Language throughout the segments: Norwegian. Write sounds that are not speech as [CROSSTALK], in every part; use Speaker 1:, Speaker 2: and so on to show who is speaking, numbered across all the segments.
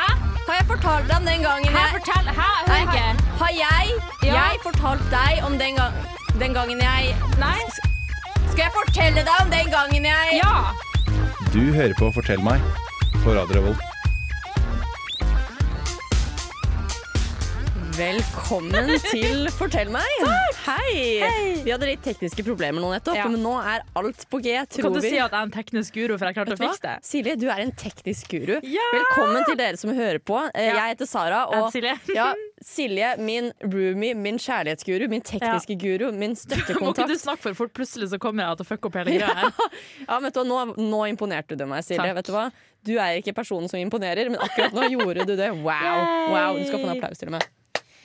Speaker 1: jeg fortalte deg om den gangen
Speaker 2: Hæ,
Speaker 1: jeg
Speaker 2: fortell! Hæ,
Speaker 1: Nei,
Speaker 2: hør
Speaker 1: har,
Speaker 2: ikke.
Speaker 1: har jeg,
Speaker 2: Ja.
Speaker 1: jeg fortalt deg om den, gang, den gangen jeg
Speaker 2: Nei?
Speaker 1: Skal jeg fortelle deg om den gangen jeg
Speaker 2: Ja!
Speaker 3: Du hører på Fortell meg på Radio Revolt.
Speaker 2: [LAUGHS]
Speaker 4: Velkommen til Fortell meg. Hei. Vi hadde litt tekniske problemer nå nettopp,
Speaker 2: Ja.
Speaker 4: men nå er alt på G, tror
Speaker 2: Kan du
Speaker 4: vi.
Speaker 2: si at jeg er en teknisk guru, for jeg klarte å
Speaker 4: Vet du hva?
Speaker 2: fikse det?
Speaker 4: Silje, du er en teknisk guru.
Speaker 2: Ja!
Speaker 4: Velkommen til dere som hører på. Eh,
Speaker 2: Ja.
Speaker 4: Jeg heter Sara.
Speaker 2: Jeg heter Silje. [LAUGHS]
Speaker 4: ja, Silje, min roomie, min kjærlighetsguru, min tekniske guru, min
Speaker 2: [LAUGHS] Må ikke du
Speaker 4: støttekontakt.
Speaker 2: snakke for fort? Plutselig så kommer jeg til å fucke opp hele greia her.
Speaker 4: [LAUGHS] Ja, vet du, hva, nå, nå imponerte du meg, Silje.
Speaker 2: Takk.
Speaker 4: Vet du hva? Du er ikke personen som imponerer, men akkurat nå gjorde du det. Wow.
Speaker 2: Yay.
Speaker 4: wow. Du skal få en applaus til og med.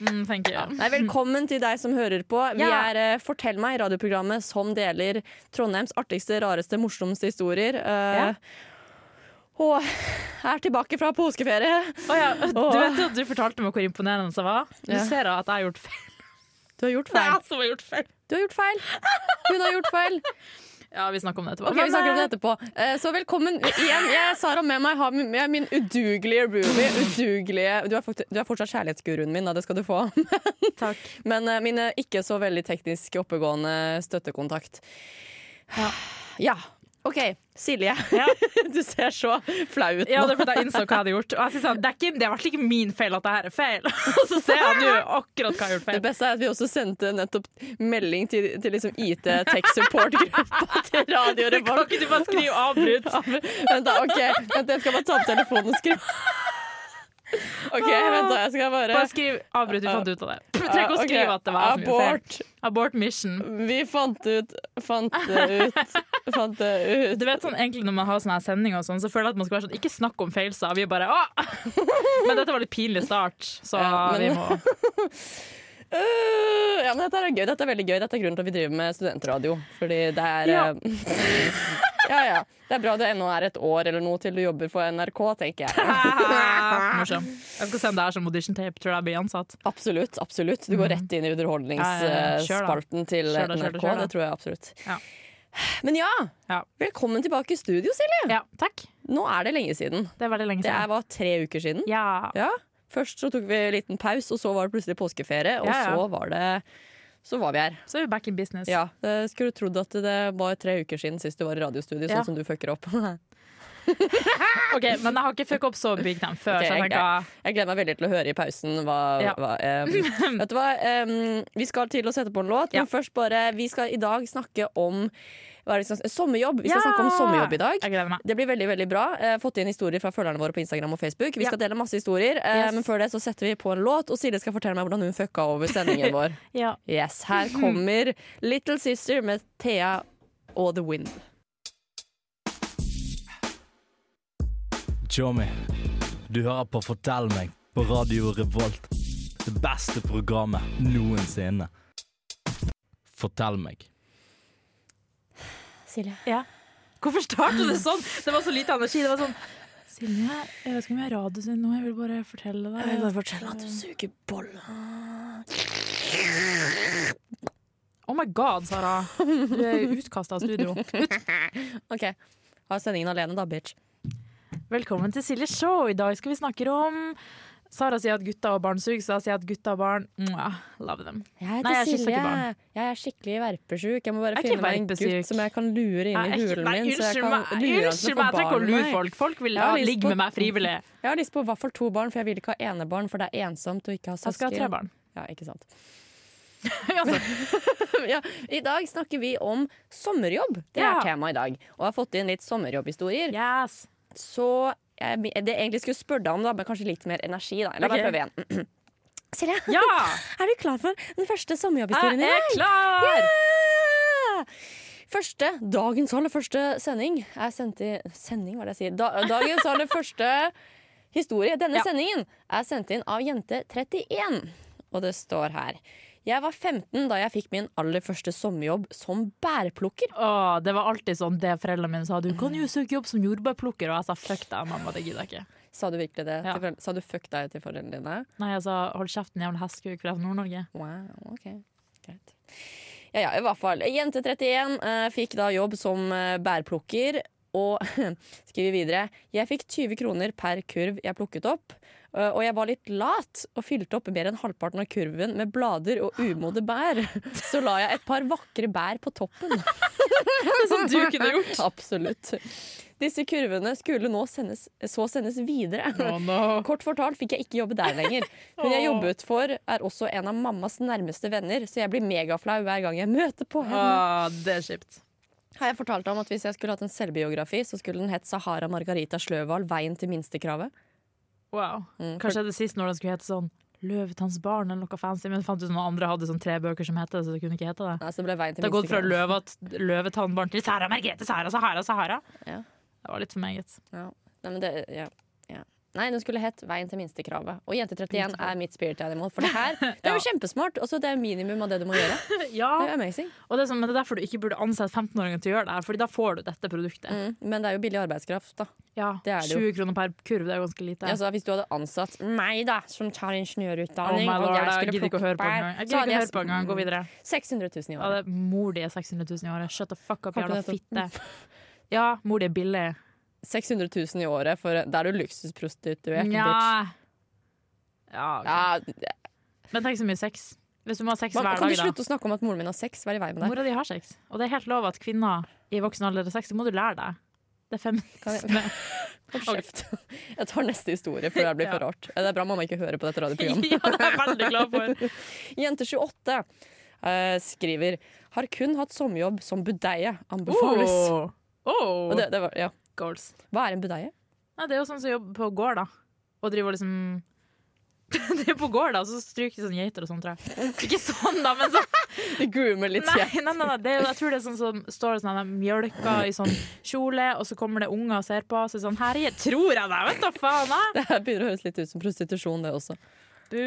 Speaker 2: Mm, thank you.
Speaker 4: Nei, velkommen til deg som hører på. Vi
Speaker 2: Ja.
Speaker 4: er eh, Fortell meg, radioprogrammet som deler Trondheims artigste, rareste, morsomste historier. Eh, Og er tilbake fra påskeferie.
Speaker 2: Å ja, du
Speaker 4: Åh.
Speaker 2: vet jo at du fortalte meg hvor imponerende det var? Du
Speaker 4: Ja.
Speaker 2: ser at jeg [LAUGHS] har gjort feil.
Speaker 4: Du har gjort
Speaker 2: Det er
Speaker 4: feil.
Speaker 2: jeg som har gjort feil.
Speaker 4: Du har gjort feil. Hun har gjort feil.
Speaker 2: Ja, vi snakker om det etterpå.
Speaker 4: Ok, Vi snakker om det etterpå. Eh, Så [LAUGHS] velkommen igjen. Jeg er Sara med meg. Har min, jeg er min udugelige roomie. Udugelige. Du, er fort- du er fortsatt kjærlighetsguruen min, da. det skal du få. [LAUGHS]
Speaker 2: Takk.
Speaker 4: Men eh, min eh, ikke så veldig teknisk oppegående støttekontakt. Ja. OK, Silje.
Speaker 2: Ja.
Speaker 4: [LAUGHS] Du ser så flau ut nå.
Speaker 2: Ja, det er fordi jeg innså hva jeg hadde gjort. Og jeg synes at det, er ikke, det var ikke min feil at det her er feil. [LAUGHS] Og så ser jeg nå akkurat hva jeg har gjort
Speaker 4: Det
Speaker 2: feil.
Speaker 4: beste er at vi også sendte nettopp melding til, til liksom IT Tech Support-gruppa [LAUGHS] til Radio
Speaker 2: Kan
Speaker 4: Revolt.
Speaker 2: ikke du bare skrive 'avbrutt'?
Speaker 4: Vent, da. ok, vent, jeg skal bare ta opp telefonen og skrive. [LAUGHS] OK, vent, da. Jeg skal bare
Speaker 2: Bare skriv 'avbrutt', vi fant ut av det. Trekk og
Speaker 4: Eh, Ok,
Speaker 2: skriv at det var jeg som gjorde feil.
Speaker 4: Abort.
Speaker 2: Abort mission.
Speaker 4: Vi fant ut Fant det ut. Fant det
Speaker 2: [LAUGHS]
Speaker 4: ut.
Speaker 2: Du vet sånn, egentlig Når man har sånne her sendinger, og sånn, så føler jeg at man skal være sånn Ikke snakk om feilser. Vi er bare Åh! [LAUGHS] Men dette var litt pinlig start, så
Speaker 4: Ja,
Speaker 2: vi
Speaker 4: men-
Speaker 2: må [LAUGHS]
Speaker 4: Øh, ja, men dette er gøy. Dette er veldig gøy. Dette er grunnen til at vi driver med studentradio. Fordi det er
Speaker 2: Ja.
Speaker 4: eh, [LAUGHS] ja, ja. Det er bra det ennå er et år eller noe til du jobber for NRK, tenker
Speaker 2: [LAUGHS]
Speaker 4: jeg.
Speaker 2: Morsom. Jeg skal sende det her som audition tape. Tror du jeg blir ansatt?
Speaker 4: Absolutt. absolutt Du går rett inn i
Speaker 2: Mm. Ja, ja, ja. Kjør da.
Speaker 4: underholdningsspalten til
Speaker 2: Kjør da, kjør da,
Speaker 4: NRK.
Speaker 2: kjør da.
Speaker 4: Det tror jeg absolutt.
Speaker 2: Ja.
Speaker 4: Men ja,
Speaker 2: Ja.
Speaker 4: velkommen tilbake i studio, Silje.
Speaker 2: Ja, takk.
Speaker 4: Nå er det lenge siden.
Speaker 2: Det er veldig lenge
Speaker 4: Det er,
Speaker 2: siden.
Speaker 4: var tre uker siden.
Speaker 2: Ja.
Speaker 4: Ja. Først så tok vi en liten pause, og så var det plutselig påskeferie, og
Speaker 2: Ja, ja.
Speaker 4: så var det så var vi her.
Speaker 2: Så er vi back in business.
Speaker 4: Ja, jeg Skulle trodd at det var tre uker siden sist du var i radiostudio,
Speaker 2: Ja.
Speaker 4: sånn som du fucker
Speaker 2: [LAUGHS]
Speaker 4: opp.
Speaker 2: Ok, Men jeg har ikke fucka opp så big time før,
Speaker 4: Ok,
Speaker 2: så jeg
Speaker 4: greit.
Speaker 2: tenker
Speaker 4: Jeg gleder meg veldig til å høre i pausen hva,
Speaker 2: Ja.
Speaker 4: hva
Speaker 2: [LAUGHS]
Speaker 4: em, Vet du hva, em, vi skal til å sette på en låt,
Speaker 2: Ja.
Speaker 4: men først bare Vi skal i dag snakke om hva er det, vi skal- sommerjobb. Vi skal
Speaker 2: Ja!
Speaker 4: snakke om sommerjobb i dag.
Speaker 2: Jeg gleder meg.
Speaker 4: Det blir veldig veldig bra. Eh, fått inn historier fra følgerne våre på Instagram og Facebook. Vi
Speaker 2: Ja.
Speaker 4: skal dele masse historier, eh,
Speaker 2: Yes.
Speaker 4: men før det så setter vi på en låt, og Silje skal fortelle meg hvordan hun fucka over
Speaker 2: [LAUGHS]
Speaker 4: sendingen vår.
Speaker 2: Ja.
Speaker 4: Yes, her kommer Little Sister med Thea og The Wind.
Speaker 5: Tjommi, du hører på Fortell meg på Radio Revolt. Det beste programmet noensinne. Fortell meg.
Speaker 4: Silje.
Speaker 2: Ja. Hvorfor startet det sånn? Det var så lite energi. Det var sånn Silje, jeg vet ikke om jeg er radio sin nå, jeg vil bare fortelle deg. Jeg vil bare fortelle at du suger boller. Oh my god, Sara. Du er utkasta av studio.
Speaker 4: OK. Ha sendingen alene, da, bitch.
Speaker 2: Velkommen til Silje Show. I dag skal vi snakke om Sara sier at gutter og barn suger, så jeg sier at gutter og barn mwah, love them.
Speaker 4: Jeg heter
Speaker 2: Nei, jeg er
Speaker 4: Silje.
Speaker 2: ikke barn.
Speaker 4: Jeg er skikkelig verpersyk. Jeg må bare
Speaker 2: Jeg er
Speaker 4: finne
Speaker 2: ikke
Speaker 4: meg en
Speaker 2: verpesyk.
Speaker 4: gutt som jeg kan lure inn
Speaker 2: Nei,
Speaker 4: i
Speaker 2: ikke-
Speaker 4: hulen
Speaker 2: nei,
Speaker 4: min. så jeg
Speaker 2: Unnskyld
Speaker 4: kan
Speaker 2: meg,
Speaker 4: lure han til
Speaker 2: unnskyld
Speaker 4: å få
Speaker 2: meg, jeg trenger ikke å
Speaker 4: barn
Speaker 2: altså lure
Speaker 4: med meg.
Speaker 2: folk. Folk vil
Speaker 4: Jeg har
Speaker 2: ha,
Speaker 4: lyst
Speaker 2: ligge
Speaker 4: på-
Speaker 2: med meg frivillig.
Speaker 4: Jeg har lyst på i hvert fall to barn, for jeg vil ikke ha enebarn, for det er ensomt å ikke ha
Speaker 2: Jeg skal ha tre
Speaker 4: søsken.
Speaker 2: barn.
Speaker 4: Ja, ikke
Speaker 2: [LAUGHS]
Speaker 4: sant.
Speaker 2: altså,
Speaker 4: [LAUGHS] ja, I dag snakker vi om sommerjobb. Det
Speaker 2: Ja.
Speaker 4: er temaet i dag. Og jeg har fått inn litt sommerjobbhistorier.
Speaker 2: yes.
Speaker 4: Så jeg, det jeg egentlig skulle spørre deg om, da, men kanskje litt mer energi, da. La meg
Speaker 2: Ok.
Speaker 4: prøve igjen. [CLEARS THROAT] Silje,
Speaker 2: Ja!
Speaker 4: [LAUGHS] er du klar for den første sommerjobbhistorien din?
Speaker 2: Jeg er klar!
Speaker 4: Ja! Første, dagens aller første sending er sendt i Sending, hva er det jeg sier? Da, dagens
Speaker 2: [LAUGHS]
Speaker 4: aller første historie, denne
Speaker 2: Ja.
Speaker 4: sendingen, er sendt inn av jente 31. Og det står her Jeg var 15 da jeg fikk min aller første sommerjobb som bærplukker.
Speaker 2: Åh, det var alltid sånn det foreldrene mine sa. Du kan jo søke jobb som jordbærplukker. Og jeg sa fuck deg, mamma, det gidder jeg ikke.
Speaker 4: Sa du virkelig det?
Speaker 2: Ja.
Speaker 4: Til foreldre- Sa du fuck deg til foreldrene dine?
Speaker 2: Nei, jeg sa hold kjeften, jævla hestkuk, for jeg er fra Nord-Norge.
Speaker 4: Wow, ok. Greit. Ja, ja, i hvert fall. Jente 31 eh, fikk da jobb som eh, bærplukker. Og [LAUGHS] skriver videre Jeg fikk 20 kroner per kurv jeg plukket opp, eh, og jeg var litt lat og fylte opp mer enn halvparten av kurven med blader og umodne bær. [LAUGHS] Så la jeg et par vakre bær på
Speaker 2: [LAUGHS]
Speaker 4: toppen.
Speaker 2: Som sånn du kunne gjort.
Speaker 4: Absolutt. Disse kurvene skulle nå sendes, så sendes videre.
Speaker 2: Oh, no.
Speaker 4: Kort fortalt fikk jeg ikke jobbe der lenger. Hun jeg
Speaker 2: Åh.
Speaker 4: jobbet for, er også en av mammas nærmeste venner, så jeg blir megaflau hver gang jeg møter på henne.
Speaker 2: Ah, det er kjipt.
Speaker 4: Har jeg fortalt om at Hvis jeg skulle hatt en selvbiografi, så skulle den hett 'Sahara Margarita Sløvahl veien til minstekravet'.
Speaker 2: Wow.
Speaker 4: Mm, for-
Speaker 2: Kanskje det sist når den skulle hete sånn Løvetanns barn eller noe fancy, men fant ut noen andre hadde sånn tre bøker som het det, så det kunne ikke hete det.
Speaker 4: Nei, så det ble veien til
Speaker 2: Det har gått fra
Speaker 4: minstekravet.
Speaker 2: løva, løvetannbarn til Sara Margrethe, Sara, Sahara, Sahara.
Speaker 4: Ja.
Speaker 2: Det var litt for meget.
Speaker 4: Ja. Nei, men det, ja. Ja. Nei, den skulle hett 'Veien til minstekravet'. Og Jente 31 er mitt spirit animal. For det her det
Speaker 2: [LAUGHS]
Speaker 4: er jo kjempesmart. Også det er minimum av det du må gjøre. Det er
Speaker 2: Ja,
Speaker 4: jo amazing.
Speaker 2: og det er, sånn, men det er derfor du ikke burde ansette 15-åringer til å gjøre det her, Fordi da får du dette produktet.
Speaker 4: Mm. Men det er jo billig arbeidskraft, da.
Speaker 2: Ja,
Speaker 4: Det er det jo.
Speaker 2: 20 kroner per kurv, det er ganske lite.
Speaker 4: Altså, hvis du hadde ansatt meg, da, som tar
Speaker 2: Oh
Speaker 4: ingeniørutdanning
Speaker 2: my
Speaker 4: og
Speaker 2: lord,
Speaker 4: jeg
Speaker 2: jeg
Speaker 4: skulle
Speaker 2: gidder ikke å
Speaker 4: plukke
Speaker 2: høre på
Speaker 4: bær,
Speaker 2: engang. Jeg
Speaker 4: så
Speaker 2: gidder
Speaker 4: hadde
Speaker 2: ikke å
Speaker 4: jeg
Speaker 2: høre på engang, gå videre.
Speaker 4: 600 000 i
Speaker 2: Ja,
Speaker 4: året.
Speaker 2: det er mor di er 600 000 i året. Shut the fuck up,
Speaker 4: Har ikke
Speaker 2: jævla
Speaker 4: nettopp-
Speaker 2: fitte. Ja, mor di er billig.
Speaker 4: 600 000 i året, for da er du luksusprostituert, bitch.
Speaker 2: Nja. Ja, ok.
Speaker 4: Ja,
Speaker 2: Men tenk så mye sex. Hvis du må ha sex
Speaker 4: man,
Speaker 2: hver
Speaker 4: kan du
Speaker 2: dag,
Speaker 4: slutte å snakke om at moren min har sex? Vær i vei
Speaker 2: da.
Speaker 4: med deg.
Speaker 2: Mora di har sex. Og det er helt lov at kvinner i voksen alder har sex. Det må du lære deg. Det er
Speaker 4: Kan jeg-
Speaker 2: feminisme.
Speaker 4: Hold kjeft. [LAUGHS] Jeg tar neste historie, for det her blir for
Speaker 2: Ja.
Speaker 4: rart. Eh, Det er bra mamma ikke hører på dette
Speaker 2: [LAUGHS] ja,
Speaker 4: radioprogrammet.
Speaker 2: [LAUGHS] det er jeg veldig glad for.
Speaker 4: Jente 28 eh, skriver har kun hatt sommerjobb som budeie. Anbefales.
Speaker 2: Oh. Oh.
Speaker 4: Og det, det var, ja.
Speaker 2: Goals.
Speaker 4: Hva er en budeie?
Speaker 2: Nei, det er jo sånn som jobber på gård, da. Og driver og liksom [LAUGHS] Det er på gård, da, og så stryker de sånn geiter og sånn, tror jeg. Ikke sånn, da, men sånn.
Speaker 4: De groomer litt.
Speaker 2: Nei,
Speaker 4: [LAUGHS] ja.
Speaker 2: nei, nei, nei. Det er, jo- jeg tror det er sånn som står sånn at de mjølker i sånn kjole, og så kommer det unger og ser på, og så er det sånn Her er jeg, tror jeg deg, vet da faen, jeg!
Speaker 4: Det her begynner å høres litt ut som prostitusjon, det også.
Speaker 2: Du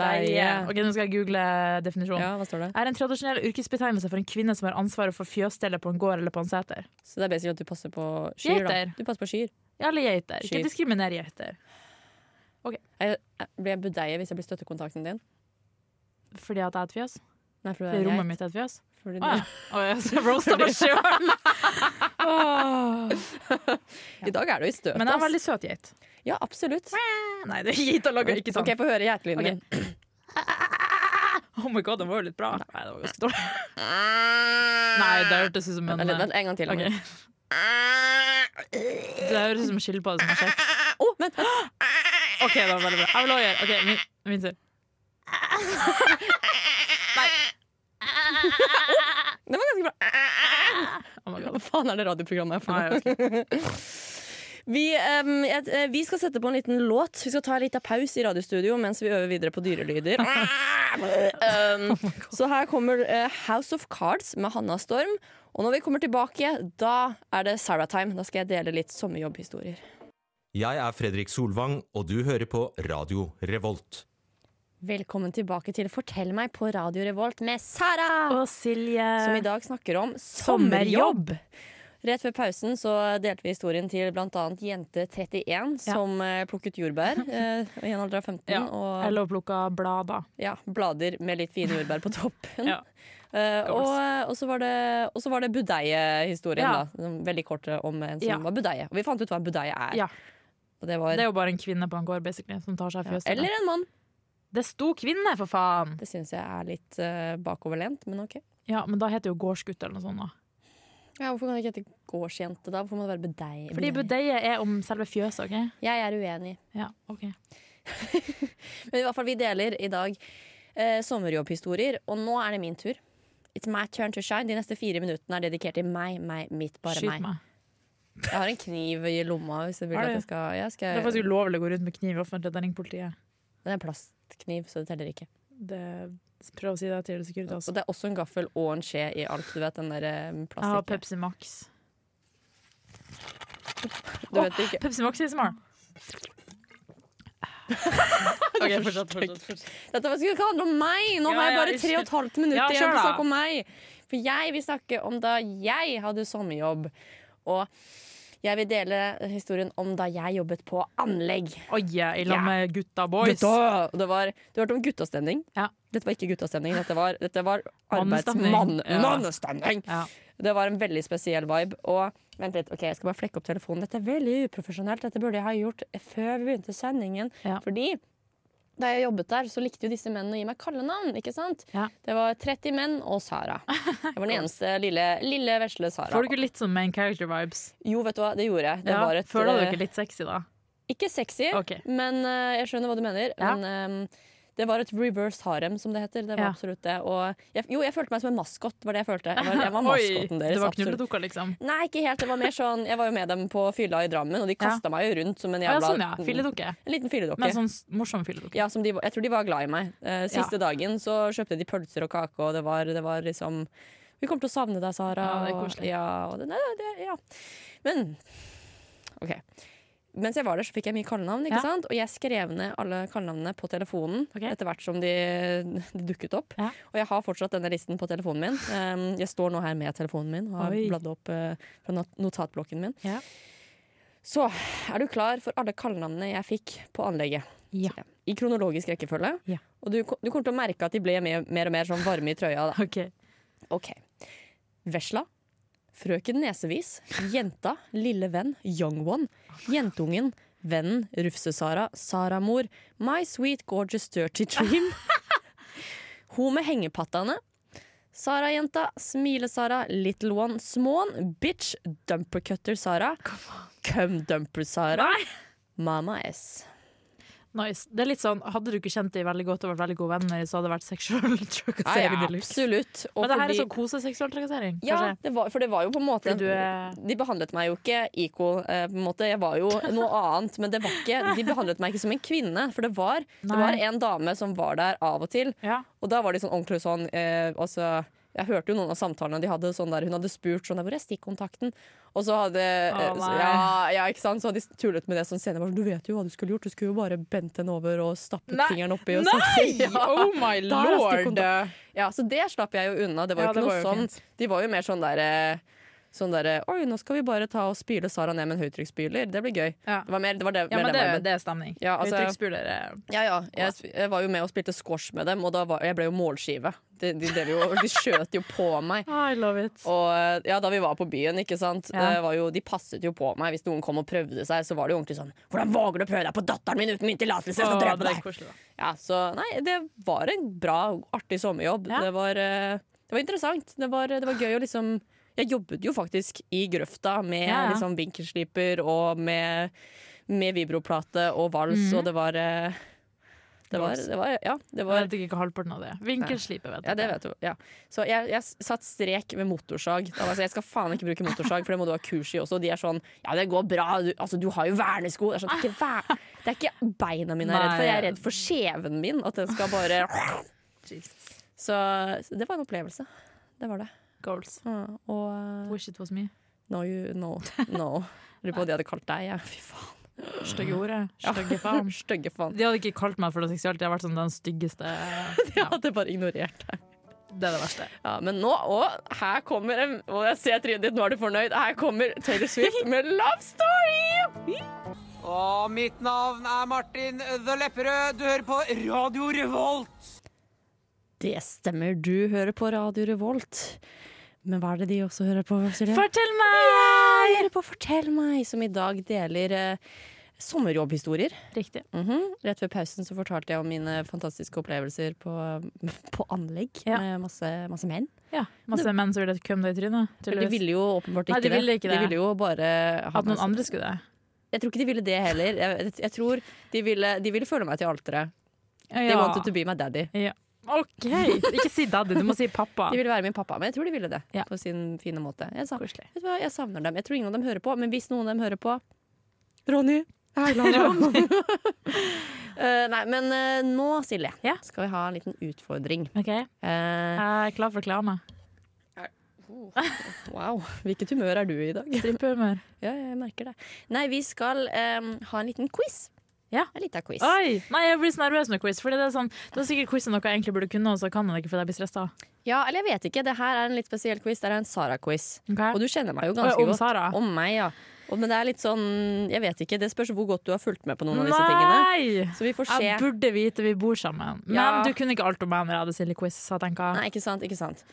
Speaker 4: Deie.
Speaker 2: OK, nå skal jeg google definisjonen.
Speaker 4: Ja, hva står det?
Speaker 2: Er en tradisjonell yrkesbetegnelse for en kvinne som har ansvaret for fjøsstellet på en gård eller på en seter.
Speaker 4: Så det er basically at du passer på skyer,
Speaker 2: Geiter.
Speaker 4: da. Du passer på skyer.
Speaker 2: Ja, eller geiter.
Speaker 4: Skyt.
Speaker 2: Ikke diskriminer geiter.
Speaker 4: Jeg, jeg, blir jeg budeie hvis jeg blir støttekontakten din?
Speaker 2: Fordi at jeg er et fjøs?
Speaker 4: Nei, for
Speaker 2: Fordi
Speaker 4: det er
Speaker 2: rommet
Speaker 4: jeg.
Speaker 2: mitt er et fjøs?
Speaker 4: Fordi
Speaker 2: Å
Speaker 4: du-
Speaker 2: ja. Å, jeg så roasta meg [LAUGHS] sjøl!
Speaker 4: I dag er du i støtet.
Speaker 2: Men jeg er en
Speaker 4: ass.
Speaker 2: veldig søt geit.
Speaker 4: Ja, absolutt.
Speaker 2: Nei, det er geit å lage, ikke sant?
Speaker 4: Ok, Få høre geitelyden
Speaker 2: Ok.
Speaker 4: din.
Speaker 2: [LAUGHS] Oh my god, den var jo litt bra. Nei, det var ganske dårlig. Nei, det hørtes ut som en
Speaker 4: Vent, vent, vent, en gang til.
Speaker 2: Ok.
Speaker 4: Å,
Speaker 2: Det høres ut som en skilpadde som har sex.
Speaker 4: vent, vent.
Speaker 2: OK, det var veldig bra. Jeg vil også gjøre OK, min, min tur.
Speaker 4: Den var ganske bra.
Speaker 2: Oh my god.
Speaker 4: Hva faen er det radioprogrammet her for
Speaker 2: Nei,
Speaker 4: noe?
Speaker 2: jeg vet ikke.
Speaker 4: Vi, em, jeg- eh, vi skal sette på en liten låt. Vi skal ta en liten pause i radiostudio mens vi øver videre på
Speaker 2: [LAUGHS]
Speaker 4: dyrelyder.
Speaker 2: Oh
Speaker 4: Em, så her kommer eh, House of Cards med Hanna Storm. Og når vi kommer tilbake, da er det Sarah-time. Da skal jeg dele litt sommerjobbhistorier.
Speaker 6: Jeg er Fredrik Solvang, og du hører på Radio Revolt.
Speaker 4: Velkommen tilbake til Fortell meg på Radio Revolt med Sara!
Speaker 2: Og eh, Silje
Speaker 4: Som i dag snakker om sommerjobb. Rett før pausen så delte vi historien til bl.a. Jente31, som eh, plukket
Speaker 2: [LAUGHS]
Speaker 4: jordbær eh, i en alder av 15.
Speaker 2: Ja.
Speaker 4: Og
Speaker 2: Eller å plukke blader.
Speaker 4: ja, blader med litt fine jordbær på toppen.
Speaker 2: [LAUGHS] Ja.
Speaker 4: Eh,
Speaker 2: goals.
Speaker 4: og, og så var det, og så var det budeie-historien,
Speaker 2: Ja.
Speaker 4: da. Som- Veldig kort eh, om en som
Speaker 2: Ja.
Speaker 4: var budeie. Og vi fant ut hva budeie er.
Speaker 2: Ja.
Speaker 4: Og det var,
Speaker 2: Det er jo bare en kvinne på en gård basically, som tar seg av fjøset.
Speaker 4: eller en mann.
Speaker 2: Det sto kvinne, for faen!
Speaker 4: Det syns jeg er litt eh, bakoverlent, men OK.
Speaker 2: Ja, men da heter jo gårdsgutt eller noe sånt. da.
Speaker 4: Ja, hvorfor kan det ikke hete gårdsjente, da? Hvorfor må det være budeie?
Speaker 2: Fordi budeie er om selve fjøset, OK?
Speaker 4: Jeg er uenig.
Speaker 2: Ja, ok.
Speaker 4: Men i hvert fall, vi deler i dag eh, sommerjobbhistorier, og nå er det min tur. It's my turn to shine. De neste fire minuttene er dedikert til meg, meg, mitt, bare
Speaker 2: Skyt
Speaker 4: meg.
Speaker 2: meg.
Speaker 4: Jeg har en kniv i lomma. Hvis jeg vil
Speaker 2: Har
Speaker 4: at
Speaker 2: du?
Speaker 4: jeg skal, jeg
Speaker 2: Det er
Speaker 4: skal,
Speaker 2: faktisk ulovlig å gå rundt med kniv i offentligheten. Ring politiet.
Speaker 4: det er en plastkniv, så det teller ikke.
Speaker 2: Det, prøv å si det til Securitas.
Speaker 4: Og det er også en gaffel og en skje i alt. Du vet den der eh,
Speaker 2: Jeg har
Speaker 4: plastikk...
Speaker 2: Pepsi Max.
Speaker 4: Du vet ikke.
Speaker 2: Pepsi Max er smart. OK, fortsett. fortsett, fortsett.
Speaker 4: Dette var- skulle ikke handle om meg! Nå
Speaker 2: Ja,
Speaker 4: har jeg
Speaker 2: ja,
Speaker 4: bare tre og et halvt minutt
Speaker 2: Ja,
Speaker 4: igjen
Speaker 2: kjør
Speaker 4: til å
Speaker 2: da.
Speaker 4: snakke om meg. For jeg vil snakke om da jeg hadde sommerjobb. Og jeg vil dele historien om da jeg jobbet på anlegg.
Speaker 2: Oi, i lag med gutta boys.
Speaker 4: Gutta! Og Det var, du hørte om guttastemning?
Speaker 2: Ja.
Speaker 4: Dette var ikke guttastemning, dette var, dette var arbeids-
Speaker 2: Mannestemning.
Speaker 4: mann-
Speaker 2: Ja.
Speaker 4: Mannestemning!
Speaker 2: Ja.
Speaker 4: Det var en veldig spesiell vibe. Og vent litt, ok, jeg skal bare flekke opp telefonen. Dette er veldig uprofesjonelt. Dette burde jeg ha gjort før vi begynte sendingen.
Speaker 2: Ja.
Speaker 4: Fordi da jeg jobbet der, så likte jo disse mennene å gi meg kallenavn. ikke sant?
Speaker 2: Ja.
Speaker 4: Det var 30 menn og Sara. Jeg
Speaker 2: [LAUGHS]
Speaker 4: var den eneste lille, lille vesle Sara.
Speaker 2: Får du ikke litt sånn main character vibes?
Speaker 4: Jo, vet du hva, det gjorde jeg. Det
Speaker 2: Ja,
Speaker 4: var et,
Speaker 2: Føler du
Speaker 4: eh,
Speaker 2: ikke litt sexy da?
Speaker 4: ikke sexy,
Speaker 2: Ok.
Speaker 4: men eh, jeg skjønner hva du mener.
Speaker 2: Ja.
Speaker 4: Men eh, det var et reverse harem, som det heter. Det var
Speaker 2: Ja.
Speaker 4: absolutt det. Og jeg, jo, jeg følte meg som en maskot, var det jeg følte. Jeg
Speaker 2: [LAUGHS]
Speaker 4: var, jeg var
Speaker 2: Oi,
Speaker 4: maskotten deres.
Speaker 2: du var
Speaker 4: absolutt.
Speaker 2: knulledukka, liksom?
Speaker 4: Nei, ikke helt. Det var mer sånn, Jeg var jo med dem på fylla i Drammen, og de kasta meg jo rundt som en
Speaker 2: Ja,
Speaker 4: jævla
Speaker 2: sånn, ja. Filledukke.
Speaker 4: En liten filledokke.
Speaker 2: Men sånn s- morsom filledukke.
Speaker 4: Ja, som de, var- jeg tror de var glad i meg. Eh, siste dagen så kjøpte de pølser og kake, og det var, det var liksom Vi kommer til å savne deg, Sara.
Speaker 2: Ja, det er
Speaker 4: og-
Speaker 2: koselig.
Speaker 4: Ja, og det, nei, det, ja. Men OK. Mens jeg var der, så fikk jeg mye kallenavn, ikke
Speaker 2: Ja.
Speaker 4: sant? og jeg skrev ned alle kallenavnene på telefonen
Speaker 2: Ok.
Speaker 4: etter hvert som de, de dukket opp.
Speaker 2: Ja.
Speaker 4: Og jeg har fortsatt denne listen på telefonen min. Um, jeg står nå her med telefonen min og har
Speaker 2: Oi.
Speaker 4: bladd opp eh, fra not- notatblokken min.
Speaker 2: Ja.
Speaker 4: Så er du klar for alle kallenavnene jeg fikk på anlegget?
Speaker 2: Ja.
Speaker 4: I kronologisk rekkefølge.
Speaker 2: Ja.
Speaker 4: Og du, ko- du kommer til å merke at de ble mer, mer og mer sånn varme i trøya. Da.
Speaker 2: Ok.
Speaker 4: Ok. Vesla. Frøken Nesevis. Jenta. Lille venn. Young one. Jentungen. Vennen. Rufse-Sara. Sara-mor. My sweet gorgeous dirty
Speaker 2: [LAUGHS]
Speaker 4: dream. Hun med hengepattene. Sara-jenta. Smile-Sara. Little one. Småen. Bitch. Dumpercutter-Sara. Cum-dumper-Sara. Mama S.
Speaker 2: Nice. Det er litt sånn, Hadde du ikke kjent dem veldig godt og vært veldig gode venner, så hadde det vært seksuell [LAUGHS] trakassering. de luxe.
Speaker 4: absolutt. Og
Speaker 2: Ah, Men det her er
Speaker 4: fordi-
Speaker 2: sånn koseseksuell trakassering.
Speaker 4: Ja,
Speaker 2: kanskje?
Speaker 4: det var, for det var jo på en måte
Speaker 2: Fordi du eh, er-
Speaker 4: De behandlet meg jo ikke equal, eh, på en måte. Jeg var jo
Speaker 2: [LAUGHS]
Speaker 4: noe annet, men det var ikke, de behandlet meg ikke som en kvinne. For det var, det
Speaker 2: Nei.
Speaker 4: var en dame som var der av og til,
Speaker 2: Ja.
Speaker 4: og da var de sånn ordentlig sånn eh, altså, Jeg hørte jo noen av samtalene de hadde. Sånn der, hun hadde spurt sånn der, 'Hvor er stikkontakten?' Og så hadde eh,
Speaker 2: Å,
Speaker 4: så,
Speaker 2: nei.
Speaker 4: ja, ja, ikke sant? Så hadde de tullet med det sånn senere. Bare, sånn, 'Du vet jo hva du skulle gjort. Du skulle jo bare bent henne over og stappet
Speaker 2: Nei.
Speaker 4: fingeren oppi.' Og
Speaker 2: Nei! [LAUGHS]
Speaker 4: sånn. [LAUGHS] Ja.
Speaker 2: Oh my
Speaker 4: Da er det
Speaker 2: lord!
Speaker 4: Ja, så det slapp jeg jo unna. Det var jo
Speaker 2: Ja,
Speaker 4: ikke noe
Speaker 2: det var jo
Speaker 4: sånn. De var jo mer sånn der eh, Sånn der, eh, Oi, nå skal vi bare ta og spyle Sara ned med en høytrykksspyler. Det blir gøy.
Speaker 2: Ja.
Speaker 4: Det var mer, det var det,
Speaker 2: Ja,
Speaker 4: mer
Speaker 2: men
Speaker 4: den
Speaker 2: det,
Speaker 4: viben.
Speaker 2: det er stemning.
Speaker 4: Ja, altså-
Speaker 2: Uttrykksspyler er-
Speaker 4: ja, ja. Jeg, jeg var jo med og spilte squash med dem, og da var, jeg ble jo målskive. De, de, drev jo, de skjøt jo på meg.
Speaker 2: I love it.
Speaker 4: Og eh, ja, da vi var på byen, ikke sant
Speaker 2: Ja.
Speaker 4: det var jo, De passet jo på meg. Hvis noen kom og prøvde seg, så var det jo ordentlig sånn 'Hvordan våger du å prøve deg på datteren min uten min tillatelse?' Jeg skal
Speaker 2: Å,
Speaker 4: drepe
Speaker 2: det er
Speaker 4: deg!»
Speaker 2: koselig, da.
Speaker 4: Ja, så nei, det var en bra, artig sommerjobb.
Speaker 2: Ja.
Speaker 4: Det, var, eh, det var interessant. Det var, det var gøy å liksom Jeg jobbet jo faktisk i grøfta med
Speaker 2: Ja, ja.
Speaker 4: liksom vinkelsliper og med, med vibroplate og vals, og det var eh, det var,
Speaker 2: Mhm. Vals.
Speaker 4: det var Ja, det
Speaker 2: Jeg
Speaker 4: var
Speaker 2: vet ikke hva halvparten av det er. Vinkelslipe, vet
Speaker 4: ja, det vet du. Ja. Så jeg, jeg satt strek ved motorsag. Da var jeg sånn, jeg skal faen ikke bruke motorsag, for det må du ha kurs i også. Og de er sånn Ja, det går bra. Du, altså, du har jo vernesko. Det er, sånn, det, er ikke ver det er ikke beina mine jeg er redd for. Jeg er redd for skjeven min. At den skal bare så, så det var en opplevelse. Det var det.
Speaker 2: Goals.
Speaker 4: Ja, Og uh,
Speaker 2: Wish it was me.
Speaker 4: no, you, no, no. Lurer på hva de hadde kalt deg. Ja. Fy faen. Mm.
Speaker 2: Stygge ordet. Stygge faen.
Speaker 4: [LAUGHS] Stygge faen.
Speaker 2: De hadde ikke kalt meg for det seksuelt. Det har vært sånn den styggeste
Speaker 4: De [LAUGHS]
Speaker 2: ja,
Speaker 4: hadde bare ignorert deg.
Speaker 2: Det er det verste.
Speaker 4: Ja, men nå, å, her kommer en, å, jeg ser trynet ditt, nå er du fornøyd. Her kommer Taylor [LAUGHS] Swift med Love Story!
Speaker 7: Og mitt navn er Martin The Lepperød. Du hører på Radio Revolt.
Speaker 4: Det stemmer, du hører på Radio Revolt. Men hva er det de også hører på? Silje?
Speaker 2: Fortell
Speaker 4: De
Speaker 2: meg!
Speaker 4: hører på Fortell meg, som i dag deler eh, sommerjobbhistorier.
Speaker 2: Riktig.
Speaker 4: Mhm. Rett før pausen så fortalte jeg om mine fantastiske opplevelser på, [LAUGHS] på anlegg
Speaker 2: Ja.
Speaker 4: med masse, masse menn.
Speaker 2: Ja, Masse menn som ville kømme deg i trynet.
Speaker 4: De
Speaker 2: tydeligvis.
Speaker 4: ville jo åpenbart ikke,
Speaker 2: Nei, de ville ikke
Speaker 4: det. De
Speaker 2: det.
Speaker 4: ville jo bare ha
Speaker 2: At noen
Speaker 4: meg-
Speaker 2: andre skulle det.
Speaker 4: Jeg tror ikke de ville det heller. Jeg, jeg tror de ville, de ville føle meg til alteret.
Speaker 2: Ja.
Speaker 4: They wanted to be my daddy.
Speaker 2: ja. OK! Ikke si daddy, du må si pappa.
Speaker 4: De ville være min pappa, men jeg tror de ville det.
Speaker 2: Ja.
Speaker 4: På sin fine måte. Jeg, sa, vet
Speaker 2: Koselig.
Speaker 4: du hva, jeg savner dem. Jeg tror ingen av dem hører på, men hvis noen av dem hører på Ronny! Jeg er [LAUGHS] glad i deg. Eh, nei, men eh, nå, Silje,
Speaker 2: Ja.
Speaker 4: skal vi ha en liten utfordring.
Speaker 2: OK, jeg
Speaker 4: Eh,
Speaker 2: er klar for reklame.
Speaker 4: wow, hvilket humør er du
Speaker 2: [LAUGHS]
Speaker 4: i i dag?
Speaker 2: Strippehumør.
Speaker 4: Ja, jeg merker det. Nei, vi skal eh, ha en liten quiz.
Speaker 2: Ja.
Speaker 4: En liten quiz.
Speaker 2: Oi! Nei, jeg blir så nervøs med quiz. Fordi det er sånn, det er sikkert quiz om noe jeg egentlig burde kunne, og så kan jeg det ikke fordi jeg blir stressa.
Speaker 4: Ja, eller jeg vet ikke. Det her er en litt spesiell quiz. Det er en Sara-quiz.
Speaker 2: Ok?
Speaker 4: Og du kjenner meg jo
Speaker 2: Å,
Speaker 4: ganske
Speaker 2: ja, om
Speaker 4: godt.
Speaker 2: Sara?
Speaker 4: Om meg, ja. Og, men det er litt sånn Jeg vet ikke. Det spørs hvor godt du har fulgt med på noen av disse tingene.
Speaker 2: Nei!
Speaker 4: Så vi får se.
Speaker 2: Jeg burde vite vi bor sammen. Men
Speaker 4: Ja.
Speaker 2: du kunne ikke alt om meg når jeg hadde Silly Quiz. Så jeg tenker,
Speaker 4: Nei, ikke sant. ikke sant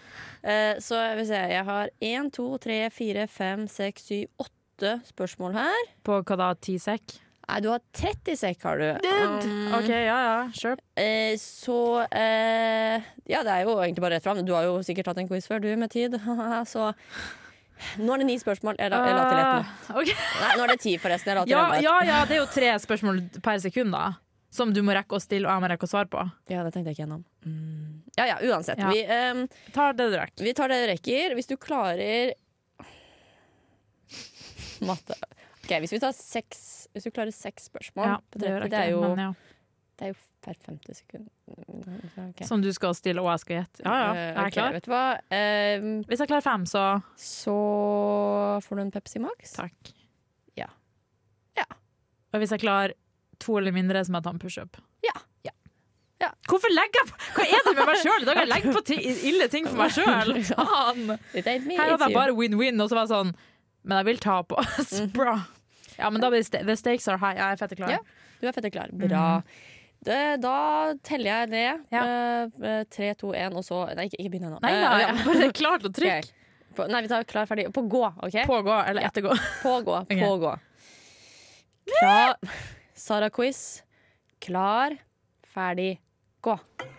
Speaker 4: Eh, Så jeg vil se, jeg har én, to, tre, fire, fem, seks, syv, åtte spørsmål her.
Speaker 2: på hva da, ti sekk?
Speaker 4: Nei, du har 30 sekk, har du. Um,
Speaker 2: OK, ja ja, sure.
Speaker 4: eh, så eh, Ja, det er jo egentlig bare rett fram. Du har jo sikkert hatt en quiz før, du, med tid. [LAUGHS] så nå er det ni spørsmål. Jeg la, jeg la til ett nå.
Speaker 2: Ah, ok.
Speaker 4: Nei, nå er det ti, forresten. Jeg la til
Speaker 2: ja,
Speaker 4: enda ett.
Speaker 2: ja ja, det er jo tre spørsmål per sekund, da. Som du må rekke å stille, og jeg må rekke å svare på.
Speaker 4: Ja, det tenkte jeg ikke gjennom. Mm. Ja ja, uansett.
Speaker 2: Ja.
Speaker 4: Vi, ehm,
Speaker 2: Ta det du rekker.
Speaker 4: vi tar det du rekker. Hvis du klarer Matte. Ok, Hvis vi tar seks Hvis du klarer seks spørsmål
Speaker 2: Ja,
Speaker 4: på
Speaker 2: det,
Speaker 4: 30,
Speaker 2: gjør jeg
Speaker 4: det, er
Speaker 2: ikke,
Speaker 4: jo,
Speaker 2: men ja.
Speaker 4: det er jo per 50 sekunder. Mm, ok.
Speaker 2: Som du skal stille, og jeg skal gjette. Ja ja,
Speaker 4: Eh,
Speaker 2: jeg er
Speaker 4: ok,
Speaker 2: klar.
Speaker 4: Vet du hva? Ehm,
Speaker 2: Hvis jeg klarer fem, så
Speaker 4: så får du en Pepsi Max.
Speaker 2: takk.
Speaker 4: Ja. Ja.
Speaker 2: Og hvis jeg klarer to eller mindre, så må jeg ta en pushup.
Speaker 4: Ja. Ja.
Speaker 2: Hvorfor legger jeg på Hva er det med meg sjøl? I dag jeg legger på ti- ille ting for meg sjøl!
Speaker 4: [LAUGHS]
Speaker 2: Faen!
Speaker 4: It ain't me, it's
Speaker 2: Her hadde
Speaker 4: you.
Speaker 2: jeg bare win-win, og så var jeg sånn Men jeg vil tape. [LAUGHS] Så Bra. Ja, men da blir sta- the stakes are high. Jeg er fette klar.
Speaker 4: Mhm. Ja. Du er fette klar. Bra. Det, da teller jeg ned.
Speaker 2: Mm. Ja.
Speaker 4: Eh, eh, Tre, to, én, og så Nei, ikke, ikke begynn ennå.
Speaker 2: Nei,
Speaker 4: Eh,
Speaker 2: nei,
Speaker 4: ja.
Speaker 2: jeg er [LAUGHS] bare klar til å
Speaker 4: Ok.
Speaker 2: trykke.
Speaker 4: På, nei, vi tar klar, ferdig. På gå, OK?
Speaker 2: Pågå eller ettergå.
Speaker 4: Pågå,
Speaker 2: Ok.
Speaker 4: pågå. Klar. Sara Quiz. Klar, ferdig, gå.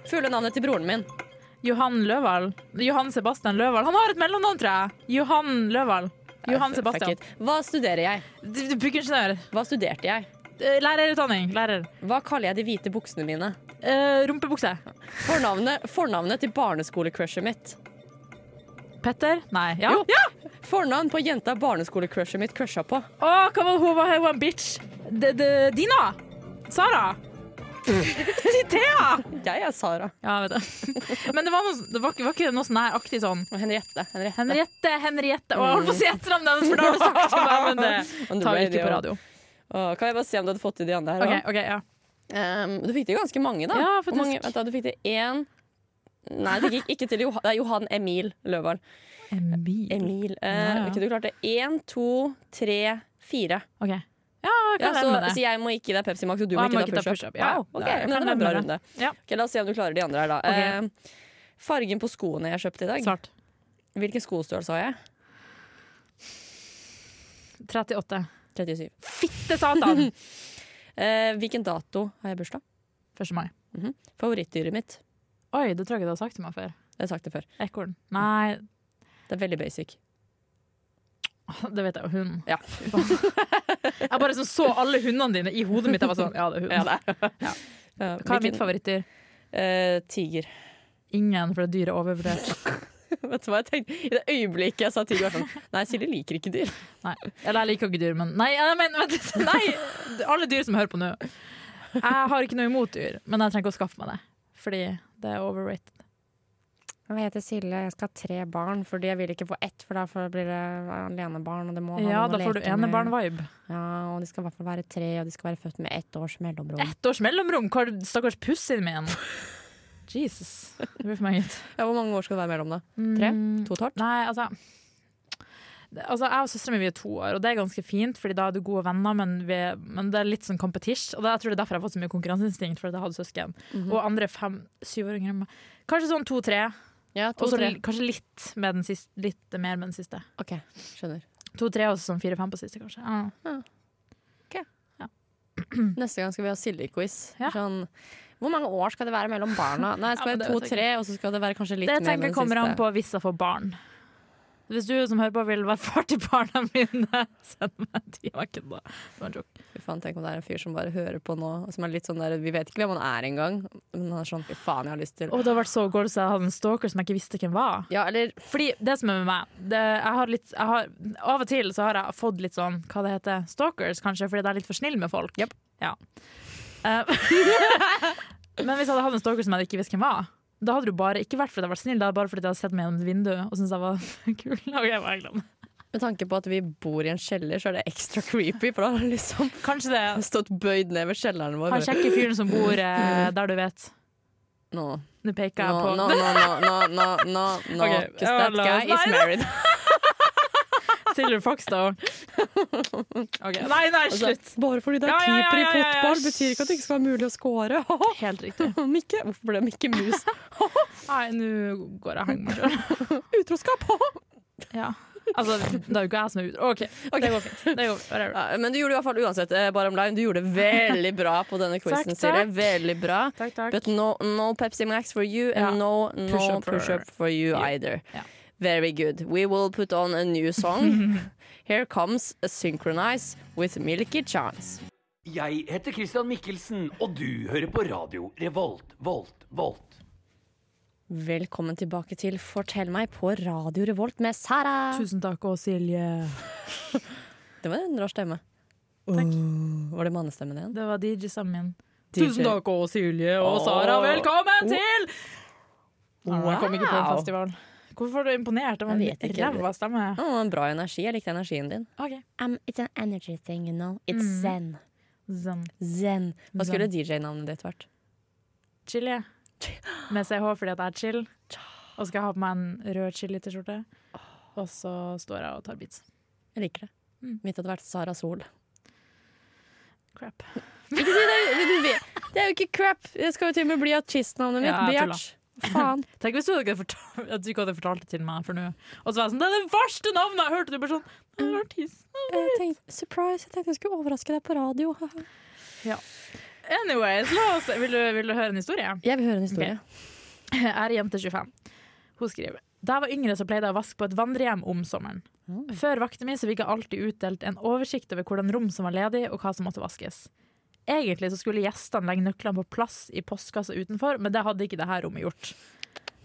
Speaker 4: Fulle navnet til broren min.
Speaker 2: Johan Løvahl. Johan Sebastian Løvahl. Han har et mellomnavn, tror jeg. Johan Løvahl. Johan
Speaker 4: Fuck
Speaker 2: Sebastian.
Speaker 4: it. Hva studerer jeg?
Speaker 2: D- d- Byggingeniør.
Speaker 4: Hva studerte jeg?
Speaker 2: Eh, Lærerutdanning. Lærer.
Speaker 4: Hva kaller jeg de hvite buksene mine?
Speaker 2: Eh, rumpebukse.
Speaker 4: Fornavnet, fornavnet til barneskolecrushet mitt.
Speaker 2: Petter? Nei. Ja.
Speaker 4: Jo.
Speaker 2: Ah, ja.
Speaker 4: Fornavn på jenta barneskolecrushet mitt crusha på.
Speaker 2: Å, hva var hun? Var hun en bitch? D -d Dina? Sara? [LAUGHS] Thea?
Speaker 4: Jeg er Sara.
Speaker 2: Ja, jeg vet det. [LAUGHS] Men det var, noe, det var, ikke- var ikke noe sånn her aktig sånn
Speaker 4: Og Henriette. Henriette.
Speaker 2: Henriette, Henriette Å, jeg holdt på å si etternavnet hennes, for da har du sagt til meg, men
Speaker 4: On
Speaker 2: [LAUGHS] det
Speaker 4: the
Speaker 2: tar vi ikke på
Speaker 4: radio.
Speaker 2: radio.
Speaker 4: Åh, kan jeg bare se om du hadde fått til de andre her?
Speaker 2: Ok,
Speaker 4: også?
Speaker 2: ok, ja.
Speaker 4: Ehm, du fikk det jo ganske mange, da.
Speaker 2: Ja,
Speaker 4: Hvor mange,
Speaker 2: faktisk.
Speaker 4: vent da du fikk det én Nei, det gikk ikke til Johan, det er Johan Emil Løvern.
Speaker 2: Emil.
Speaker 4: Emil. Eh,
Speaker 2: Ja, ja.
Speaker 4: ok, du klarte én, to, tre, fire.
Speaker 2: Ok. Ja, jeg
Speaker 4: Ja,
Speaker 2: kan
Speaker 4: så,
Speaker 2: leve med det.
Speaker 4: så jeg må ikke gi deg Pepsi Max, og du
Speaker 2: Og
Speaker 4: må
Speaker 2: jeg
Speaker 4: ikke gi deg pushup.
Speaker 2: Ja,
Speaker 4: Wow, ok,
Speaker 2: da, jeg
Speaker 4: men
Speaker 2: kan
Speaker 4: det er en bra
Speaker 2: leve med
Speaker 4: runde.
Speaker 2: det. Ja.
Speaker 4: Ok, la oss se om du klarer de andre her, da.
Speaker 2: Ok.
Speaker 4: Eh, fargen på skoene jeg kjøpte i dag.
Speaker 2: Svart.
Speaker 4: Hvilken skostørrelse har jeg?
Speaker 2: 38.
Speaker 4: 37.
Speaker 2: Fitte satan! [LAUGHS]
Speaker 4: Eh, hvilken dato har jeg bursdag?
Speaker 2: 1. mai.
Speaker 4: Favorittdyret mitt.
Speaker 2: Oi, det tror jeg ikke du har sagt til meg før.
Speaker 4: Jeg har sagt det før.
Speaker 2: Ekorn. Nei,
Speaker 4: Det er veldig basic.
Speaker 2: [LAUGHS] det vet jeg jo. Hund.
Speaker 4: Ja.
Speaker 2: Jeg bare sånn så alle hundene dine i hodet mitt. Jeg var sånn, ja, det er hund.
Speaker 4: Ja, det er.
Speaker 2: Ja.
Speaker 4: Ja,
Speaker 2: Hva er
Speaker 4: hvilken-
Speaker 2: mitt favorittdyr?
Speaker 4: Eh, tiger.
Speaker 2: Ingen, for det dyret er overvurdert.
Speaker 4: [LAUGHS] Vet du hva jeg tenkte? I det øyeblikket jeg sa tiger, var jeg sånn Nei, Silje liker ikke dyr.
Speaker 2: Nei. Eller jeg liker ikke dyr, men Nei, jeg mener, vent, nei! Alle dyr som hører på nå. Jeg har ikke noe imot dyr, men jeg trenger ikke å skaffe meg det. Fordi det er overrated.
Speaker 8: Jeg heter Silje, jeg skal ha tre barn, fordi jeg vil ikke få ett, for da får- blir det alenebarn, og det må ha
Speaker 2: Ja,
Speaker 8: noen
Speaker 2: da
Speaker 8: å
Speaker 2: får du
Speaker 8: leke med.
Speaker 2: enebarn-vibe.
Speaker 8: Ja, og de skal i hvert fall være tre, og de skal være født med ett års mellomrom.
Speaker 2: Ett års mellomrom! Hva har du- stakkars pussien min? Jesus. Det blir for mange.
Speaker 4: Ja, hvor mange år skal det være mellom, da? Tre? To og et halvt?
Speaker 2: Nei, altså det- Altså, Jeg og søstera mi er to år, og det er ganske fint, Fordi da er du gode venner, men, vi, men det er litt sånn competition. Og det, jeg tror det er derfor jeg har fått så mye konkurranseinstinkt, fordi jeg hadde søsken. Og andre fem-syvåringer enn meg. Kanskje sånn to-tre,
Speaker 4: Ja,
Speaker 2: og
Speaker 4: to,
Speaker 2: så
Speaker 4: tre.
Speaker 2: li- kanskje litt, med den siste, litt mer med den siste.
Speaker 4: Ok, skjønner.
Speaker 2: To-tre og så sånn fire-fem på siste, kanskje. Ja.
Speaker 4: Neste gang skal vi ha Silje-quiz.
Speaker 2: Mm. Ja.
Speaker 4: Sånn, hvor mange år skal det være mellom barna? [LAUGHS] Nei, det skal være
Speaker 2: Ja, men det vet jeg
Speaker 4: to-tre, og så skal det være kanskje litt
Speaker 2: Det
Speaker 4: mer
Speaker 2: tenker jeg kommer an på hvis jeg får barn. Hvis du som hører på vil være far til barna mine, [LAUGHS] send meg en time. Jeg kødda. Det var en joke.
Speaker 4: Fy faen, tenk om det er en fyr som bare hører på nå, og som er litt sånn der Vi vet ikke hvem han er engang, men han er sånn Fy faen, jeg har lyst til
Speaker 2: Og det har vært så goals jeg hadde en stalker som jeg ikke visste hvem var.
Speaker 4: Ja, eller
Speaker 2: Fordi det som er med meg det, jeg har litt, jeg har, Av og til så har jeg fått litt sånn Hva det heter, stalkers kanskje Fordi jeg er litt for snill med folk
Speaker 4: Japp.
Speaker 2: ja. Eh, [LAUGHS] Men hvis jeg hadde hatt en stalker som jeg ikke visste hvem var Da hadde du bare ikke vært fordi jeg var snill Det hadde bare fordi jeg hadde sett meg gjennom et vindu Og syntes jeg var [LAUGHS] kul Ok, jeg bare glemmer.
Speaker 4: med tanke på at vi bor i en kjeller, så er det ekstra creepy, for da har han liksom
Speaker 2: Kanskje det
Speaker 4: stått bøyd ned ved kjelleren vår.
Speaker 2: Han kjekke fyren som bor eh, der du vet
Speaker 4: Nå,
Speaker 2: Nå peker
Speaker 4: nå,
Speaker 2: jeg på
Speaker 4: nå,
Speaker 2: [LAUGHS]
Speaker 4: nå, nå, nå, nå, nå,
Speaker 2: Ok,
Speaker 4: Cause that [LAUGHS]
Speaker 2: la oss-
Speaker 4: guy
Speaker 2: Nei,
Speaker 4: is married.
Speaker 2: Silje
Speaker 4: [LAUGHS]
Speaker 2: Fogstad. Ok, Nei, nei,
Speaker 4: Altså,
Speaker 2: slutt!
Speaker 8: Bare fordi det er
Speaker 2: Ja, ja, ja,
Speaker 8: keeper
Speaker 2: ja,
Speaker 8: i
Speaker 2: ja, ja.
Speaker 8: fotball, betyr ikke at det ikke skal være mulig å
Speaker 4: [LAUGHS]
Speaker 8: score.
Speaker 2: Helt riktig.
Speaker 8: Mikke, hvorfor ble Mikke mus?
Speaker 2: Nei, nå går jeg og henger meg sjøl.
Speaker 8: Utroskap!
Speaker 2: Ja. Altså, det er jo ikke jeg som er utro. OK, det går fint. Det går,
Speaker 4: [LAUGHS]
Speaker 2: whatever.
Speaker 4: Ja, men du gjorde i hvert fall uansett, eh, Baram Line, du gjorde det veldig bra på denne quizen,
Speaker 2: Takk,
Speaker 4: Siri.
Speaker 2: takk.
Speaker 4: Veldig bra.
Speaker 2: [LAUGHS] Takk, takk.
Speaker 4: But no, no Pepsi Max for you, and
Speaker 2: Ja.
Speaker 4: no, no push
Speaker 2: Push-up
Speaker 4: up,
Speaker 2: for-
Speaker 4: for you either.
Speaker 2: Ja.
Speaker 4: Very good. We will put on a new song.
Speaker 8: [LAUGHS]
Speaker 4: Here comes a Synchronize with Milky Chance.
Speaker 9: Jeg heter Christian Mikkelsen, og du hører på radio Revolt, Volt, Volt.
Speaker 8: Velkommen tilbake til Fortell meg på Radio Revolt med Sara.
Speaker 2: Tusen takk og Silje.
Speaker 8: Det var en rar stemme. Åh, var det mannestemmen igjen?
Speaker 2: Det var DJ-stemmen min.
Speaker 8: DJ.
Speaker 2: Tusen takk og Silje og Sara. Velkommen til! Wow. Jeg kom ikke på en festival. Hvorfor var du imponert? Det var
Speaker 8: Jeg vet
Speaker 2: en
Speaker 8: ikke.
Speaker 2: ræva stemme.
Speaker 8: Å, en bra energi. Jeg likte energien din. Um,
Speaker 2: Ok,
Speaker 8: it's an energy thing, you know. It's
Speaker 4: Mm.
Speaker 8: zen.
Speaker 2: Zen.
Speaker 8: Zen. Hva
Speaker 2: Zen.
Speaker 8: skulle DJ-navnet ditt vært?
Speaker 2: Chili. Med CH fordi at jeg er chill. Og så skal jeg ha på meg en rød chili-T-skjorte. Og så står jeg og tar beats.
Speaker 8: Jeg liker det.
Speaker 4: Mm.
Speaker 8: Mitt hadde vært Sara Sol.
Speaker 2: Crap.
Speaker 8: Det er jo ikke crap! Det skal jo til og med bli artistnavnet mitt.
Speaker 2: Ja, jeg
Speaker 8: Biatch.
Speaker 4: [LAUGHS]
Speaker 8: Faen.
Speaker 2: Tenk hvis du ikke hadde fortalt, at du ikke hadde fortalt det til meg for nå. Og så var jeg sånn, det er det verste navnet jeg har hørt! Og du bare sånn, det er en artist.
Speaker 8: Jeg tenkte, surprise, jeg tenkte jeg skulle overraske deg på radio. [LAUGHS]
Speaker 2: Anyways, la oss, vil du, vil du høre en historie?
Speaker 8: Jeg vil høre en historie.
Speaker 2: [LAUGHS] Jeg er jente 25. Hun skriver Da jeg var yngre, så pleide jeg å vaske på et vandrehjem om sommeren. Før vakten min så fikk jeg alltid utdelt en oversikt over hvordan rom som var ledig, og hva som måtte vaskes. Egentlig så skulle gjestene legge nøklene på plass i postkassa utenfor, men det hadde ikke dette rommet gjort.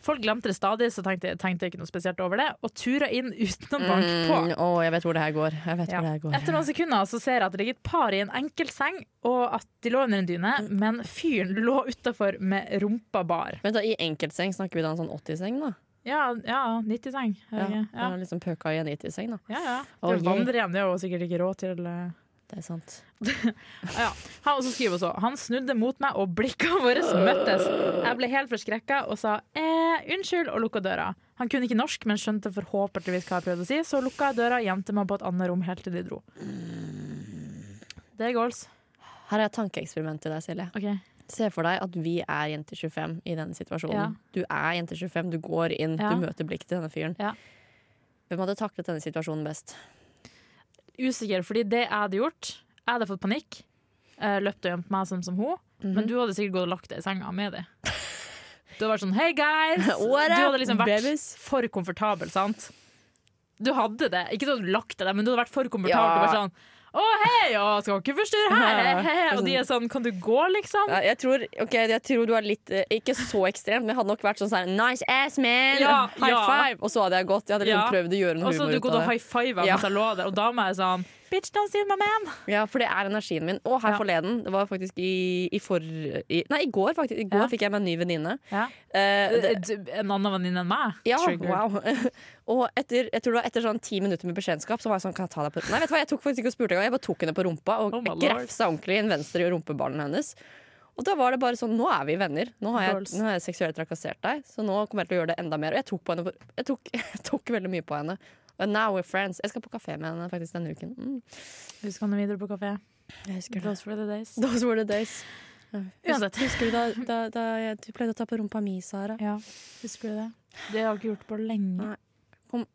Speaker 2: Folk glemte det stadig, så tenkte, tenkte jeg ikke noe spesielt over det, og tura inn [LAUGHS] uten å banke på.
Speaker 4: Mm, å, jeg vet hvor det her går. Jeg vet hvor det her går.
Speaker 2: Etter noen sekunder så ser jeg at det ligger et par i en enkeltseng, og at de lå under en dyne,
Speaker 4: Mm.
Speaker 2: men fyren lå utafor med rumpa bar.
Speaker 4: Vent da, I enkeltseng snakker vi da en sånn 80-seng, da?
Speaker 2: Ja, ja 90-seng.
Speaker 4: Ja,
Speaker 2: Ja, ja.
Speaker 4: det er Liksom pøka i en 90-seng, da.
Speaker 2: Ja, ja.
Speaker 4: Å,
Speaker 2: Det
Speaker 4: je.
Speaker 2: vandrer hjem, det er jo sikkert ikke råd til eh.
Speaker 4: Det er sant.
Speaker 2: ja. Han også skriver også Han snudde mot meg, og blikkene våre møttes. Jeg ble helt forskrekka og sa eh, unnskyld, og lukka døra. Han kunne ikke norsk, men skjønte forhåpentligvis hva jeg prøvde å si, så lukka jeg døra og gjemte meg på et annet rom helt til de dro.
Speaker 4: Mm.
Speaker 2: Det er goals.
Speaker 4: Her er et tankeeksperiment til deg, Silje.
Speaker 2: Ok.
Speaker 4: Se for deg at vi er jenter 25 i denne situasjonen.
Speaker 2: Ja.
Speaker 4: Du er jenter 25, du går inn,
Speaker 2: Ja.
Speaker 4: du møter blikket til denne fyren.
Speaker 2: Ja.
Speaker 4: Hvem hadde taklet denne situasjonen best?
Speaker 2: Usikker, fordi det jeg hadde gjort Jeg hadde fått panikk, eh, løpt og gjemt meg sånn som hun,
Speaker 4: Mhm.
Speaker 2: men du hadde sikkert gått og lagt deg i senga med det. Du hadde vært sånn 'hey guys'.
Speaker 4: [LAUGHS] What
Speaker 2: du
Speaker 4: up,
Speaker 2: hadde liksom vært
Speaker 4: babies?
Speaker 2: for komfortabel, sant? Du hadde det. Ikke sånn lagt deg der, men du hadde vært for komfortabel. og
Speaker 4: Ja.
Speaker 2: vært sånn å, hei, å, skal ikke forstyrre her, hei, hei. Og de er sånn, kan du gå, liksom?
Speaker 4: Ja, jeg, tror, ok, jeg tror du er litt eh, Ikke så ekstremt, men jeg hadde nok vært sånn sånn Nice ass, man!
Speaker 2: Ja,
Speaker 4: High
Speaker 2: ja.
Speaker 4: five! Og så hadde jeg gått. Jeg hadde liksom
Speaker 2: Ja.
Speaker 4: prøvd å gjøre
Speaker 2: Og
Speaker 4: noe
Speaker 2: så hadde du
Speaker 4: humor
Speaker 2: gått
Speaker 4: ut
Speaker 2: og
Speaker 4: av det.
Speaker 2: high fiva
Speaker 4: Ja.
Speaker 2: mens jeg lå der, og da må jeg sånn Bitch, don't steal my man!
Speaker 4: Ja, for det er energien min. Og her
Speaker 2: Ja.
Speaker 4: forleden, det var faktisk i, i for... I, nei, i går, faktisk. I går
Speaker 2: Ja.
Speaker 4: fikk jeg meg en ny venninne.
Speaker 2: Ja.
Speaker 4: Eh, det-
Speaker 2: Du- En annen venninne enn meg?
Speaker 4: Ja,
Speaker 2: Trigger.
Speaker 4: wow. [LAUGHS] Og etter, jeg tror det var etter sånn ti minutter med beskjedenskap Så var jeg sånn, kan jeg ta deg på rumpa? Nei, vet du hva, jeg tok faktisk ikke og spurte engang. Jeg bare tok henne på rumpa og
Speaker 2: Oh my lord.
Speaker 4: grefsa ordentlig i den venstre rumpeballen hennes. Og da var det bare sånn, nå er vi venner. Nå har jeg,
Speaker 2: Girls.
Speaker 4: nå har jeg seksuelt trakassert deg, så nå kommer jeg til å gjøre det enda mer. Og jeg tok, på henne, på- jeg tok, [LAUGHS] jeg tok veldig mye på henne. And now we're friends. Jeg skal på kafé med henne faktisk denne uken. Mm.
Speaker 2: Husk han videre på kafé.
Speaker 4: Jeg husker det.
Speaker 2: Those were the days.
Speaker 4: Those were the days.
Speaker 2: Uansett.
Speaker 4: Husker du da, da, da jeg, du pleide å ta på rumpa mi, Sara?
Speaker 2: Ja, husker du det? Det har jeg ikke gjort på lenge.
Speaker 4: Nei,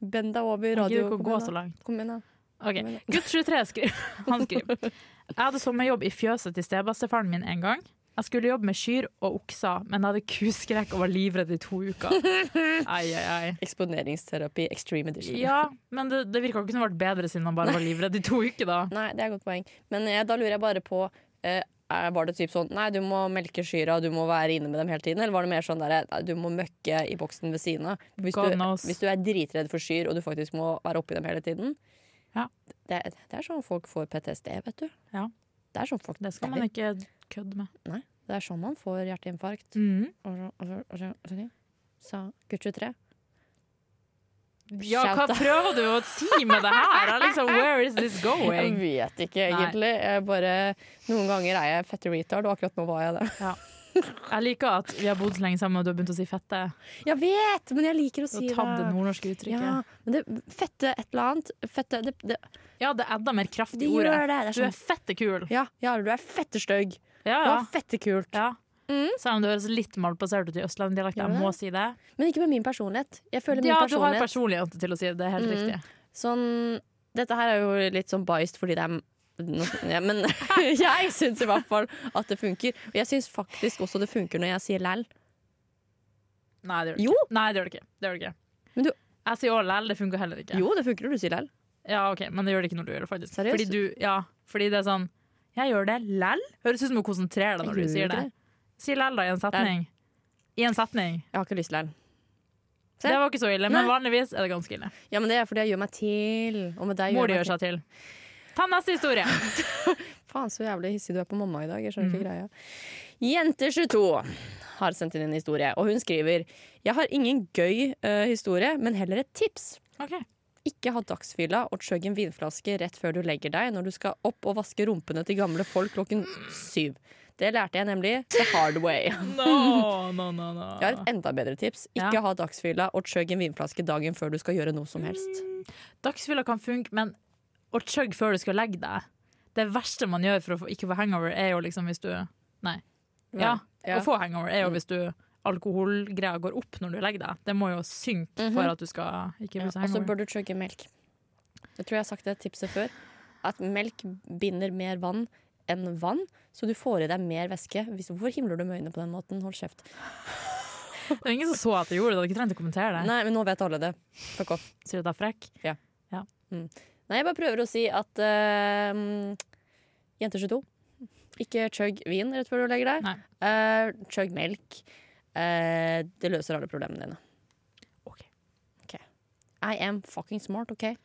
Speaker 4: Bend deg over
Speaker 2: Jeg gidder
Speaker 4: radio.
Speaker 2: ikke å
Speaker 4: Kom
Speaker 2: gå
Speaker 4: igjen
Speaker 2: så
Speaker 4: da.
Speaker 2: langt.
Speaker 4: Kom igjen, da.
Speaker 2: Ok, Gutt 23 skriver [LAUGHS] Han skriver Jeg hadde sommerjobb i fjøset til stebestefaren min en gang. Jeg skulle jobbe med kyr og okser, men jeg hadde kuskrekk og var livredd i to uker. [LAUGHS] Ai, ai, ai.
Speaker 4: Eksponeringsterapi extreme edition.
Speaker 2: Ja, men det, det virka ikke som det ble bedre siden han bare var livredd i to uker, da.
Speaker 4: Nei, det er et godt poeng. Men eh, da lurer jeg bare på eh, er- Var det typ sånn Nei, du må melke skyra, du må være inne med dem hele tiden? Eller var det mer sånn der, «Nei, du må møkke i boksen ved siden av? Hvis,
Speaker 2: God
Speaker 4: du-
Speaker 2: knows.
Speaker 4: hvis du er dritredd for skyr, og du faktisk må være oppi dem hele tiden
Speaker 2: Ja.
Speaker 4: det, er- det er sånn folk får PTSD, vet du.
Speaker 2: Ja.
Speaker 4: Det er sånn folk
Speaker 2: Det skal man ikke kødde med.
Speaker 4: Nei, det er sånn man får hjerteinfarkt.
Speaker 2: Mhm.
Speaker 4: Og så- og så- og så- og så- Sa gutt 23.
Speaker 2: Ja, hva
Speaker 4: Shout out.
Speaker 2: prøver du å si med det her? Jeg Liksom, where is [LAUGHS] this
Speaker 4: Jeg
Speaker 2: going?
Speaker 4: vet ikke,
Speaker 2: Nei.
Speaker 4: egentlig. Jeg bare, noen ganger er jeg fette retard, og akkurat nå var jeg det.
Speaker 2: Ja. Jeg liker at vi har bodd så lenge sammen og du har begynt å si fette.
Speaker 4: [LAUGHS] Jeg vet, men jeg liker å
Speaker 2: Du
Speaker 4: si
Speaker 2: har tatt det
Speaker 4: det.
Speaker 2: nordnorske uttrykket.
Speaker 4: Ja,
Speaker 2: Ja,
Speaker 4: men det fette et eller annet. Fette, det, det,
Speaker 2: det er enda mer kraft i
Speaker 4: de
Speaker 2: ordet.
Speaker 4: gjør det. det er
Speaker 2: Du er
Speaker 4: sånn,
Speaker 2: fette kul.
Speaker 4: ja, ja, du er fettestøgg.
Speaker 2: Ja,
Speaker 4: Du
Speaker 2: ja.
Speaker 4: er fettekult.
Speaker 2: ja.
Speaker 4: Mm.
Speaker 2: Selv om det høres litt malplassert ut i østlandsdialekt.
Speaker 4: Gjør
Speaker 2: Jeg
Speaker 4: det?
Speaker 2: må si det.
Speaker 4: Men ikke med min personlighet. Jeg føler min
Speaker 2: Ja, du har
Speaker 4: personlighet
Speaker 2: personlighet til å si det. Det er helt
Speaker 4: Mm.
Speaker 2: riktig.
Speaker 4: Sånn, dette her er jo litt sånn biased fordi det er nå- ja, [LAUGHS] Men jeg syns i hvert fall at det funker. Og jeg syns faktisk også det funker når jeg sier læl.
Speaker 2: Nei, det gjør det
Speaker 4: Jo,
Speaker 2: ikke. Nei, det gjør det ikke. Det gjør det ikke.
Speaker 4: Men du-
Speaker 2: Jeg sier òg læl, det funker heller ikke.
Speaker 4: jo, det funker når du sier læl.
Speaker 2: Ja, ok, Men det gjør det ikke når du gjør det, faktisk.
Speaker 4: Seriøst?
Speaker 2: Fordi, du, ja, fordi det er sånn Jeg gjør det læl. Høres ut som du konsentrerer deg
Speaker 4: Jeg
Speaker 2: når du
Speaker 4: gjør
Speaker 2: sier
Speaker 4: ikke
Speaker 2: det.
Speaker 4: det.
Speaker 2: Si læl, da, i en setning. I en setning.
Speaker 4: Jeg har ikke lyst til læl. Se.
Speaker 2: Det var ikke så
Speaker 4: Nei.
Speaker 2: ille, men vanligvis er det ganske ille.
Speaker 4: Ja, men det er fordi jeg gjør meg til. Og med deg
Speaker 2: Mor
Speaker 4: gjør
Speaker 2: de
Speaker 4: jeg
Speaker 2: gjør sånn.
Speaker 4: meg til.
Speaker 2: seg til. Ta neste historie.
Speaker 4: [LAUGHS] Faen, så jævlig hissig du er på mamma i dag. Jeg
Speaker 2: Mm.
Speaker 4: skjønner ikke greia. Jente22 har sendt inn en historie, og hun skriver Jeg har ingen gøy eh, historie, men heller et tips.
Speaker 2: Ok.
Speaker 4: Ikke ha dagsfylla og chugg en vinflaske rett før du legger deg når du skal opp og vaske rumpene til gamle folk klokken syv. Det lærte jeg nemlig the hard way.
Speaker 2: No, no, no, no.
Speaker 4: Jeg har et enda bedre tips. Ikke
Speaker 2: Ja.
Speaker 4: ha dagsfylla og chugg en vinflaske dagen før du skal gjøre noe som helst.
Speaker 2: Dagsfylla kan funke, men å chugge før du skal legge deg Det verste man gjør for å få, ikke få hangover, er jo liksom hvis du Nei. Ja,
Speaker 4: Ja.
Speaker 2: Å få hangover er jo hvis du alkoholgreia går opp når du legger deg. Det må jo synke
Speaker 4: Mhm.
Speaker 2: for at du skal ikke bli så
Speaker 4: Og så
Speaker 2: hangover.
Speaker 4: bør du chugge melk. Jeg tror jeg har sagt det tipset før. At melk binder mer vann enn vann, så du får i deg mer væske. Hvis- Hvorfor himler du med øynene på den måten? Hold kjeft.
Speaker 2: Det var ingen som så at jeg gjorde det. Du hadde ikke trengt å kommentere det.
Speaker 4: Nei, men nå vet alle det. Fuck off.
Speaker 2: Sier du at jeg er frekk?
Speaker 4: Nei, jeg bare prøver å si at eh, mm, Jenter 22, ikke chugg vin rett før du legger deg.
Speaker 2: Nei.
Speaker 4: Eh, chugg melk. Eh, det løser alle problemene dine.
Speaker 2: Ok.
Speaker 4: Ok. I am fucking smart, OK? Det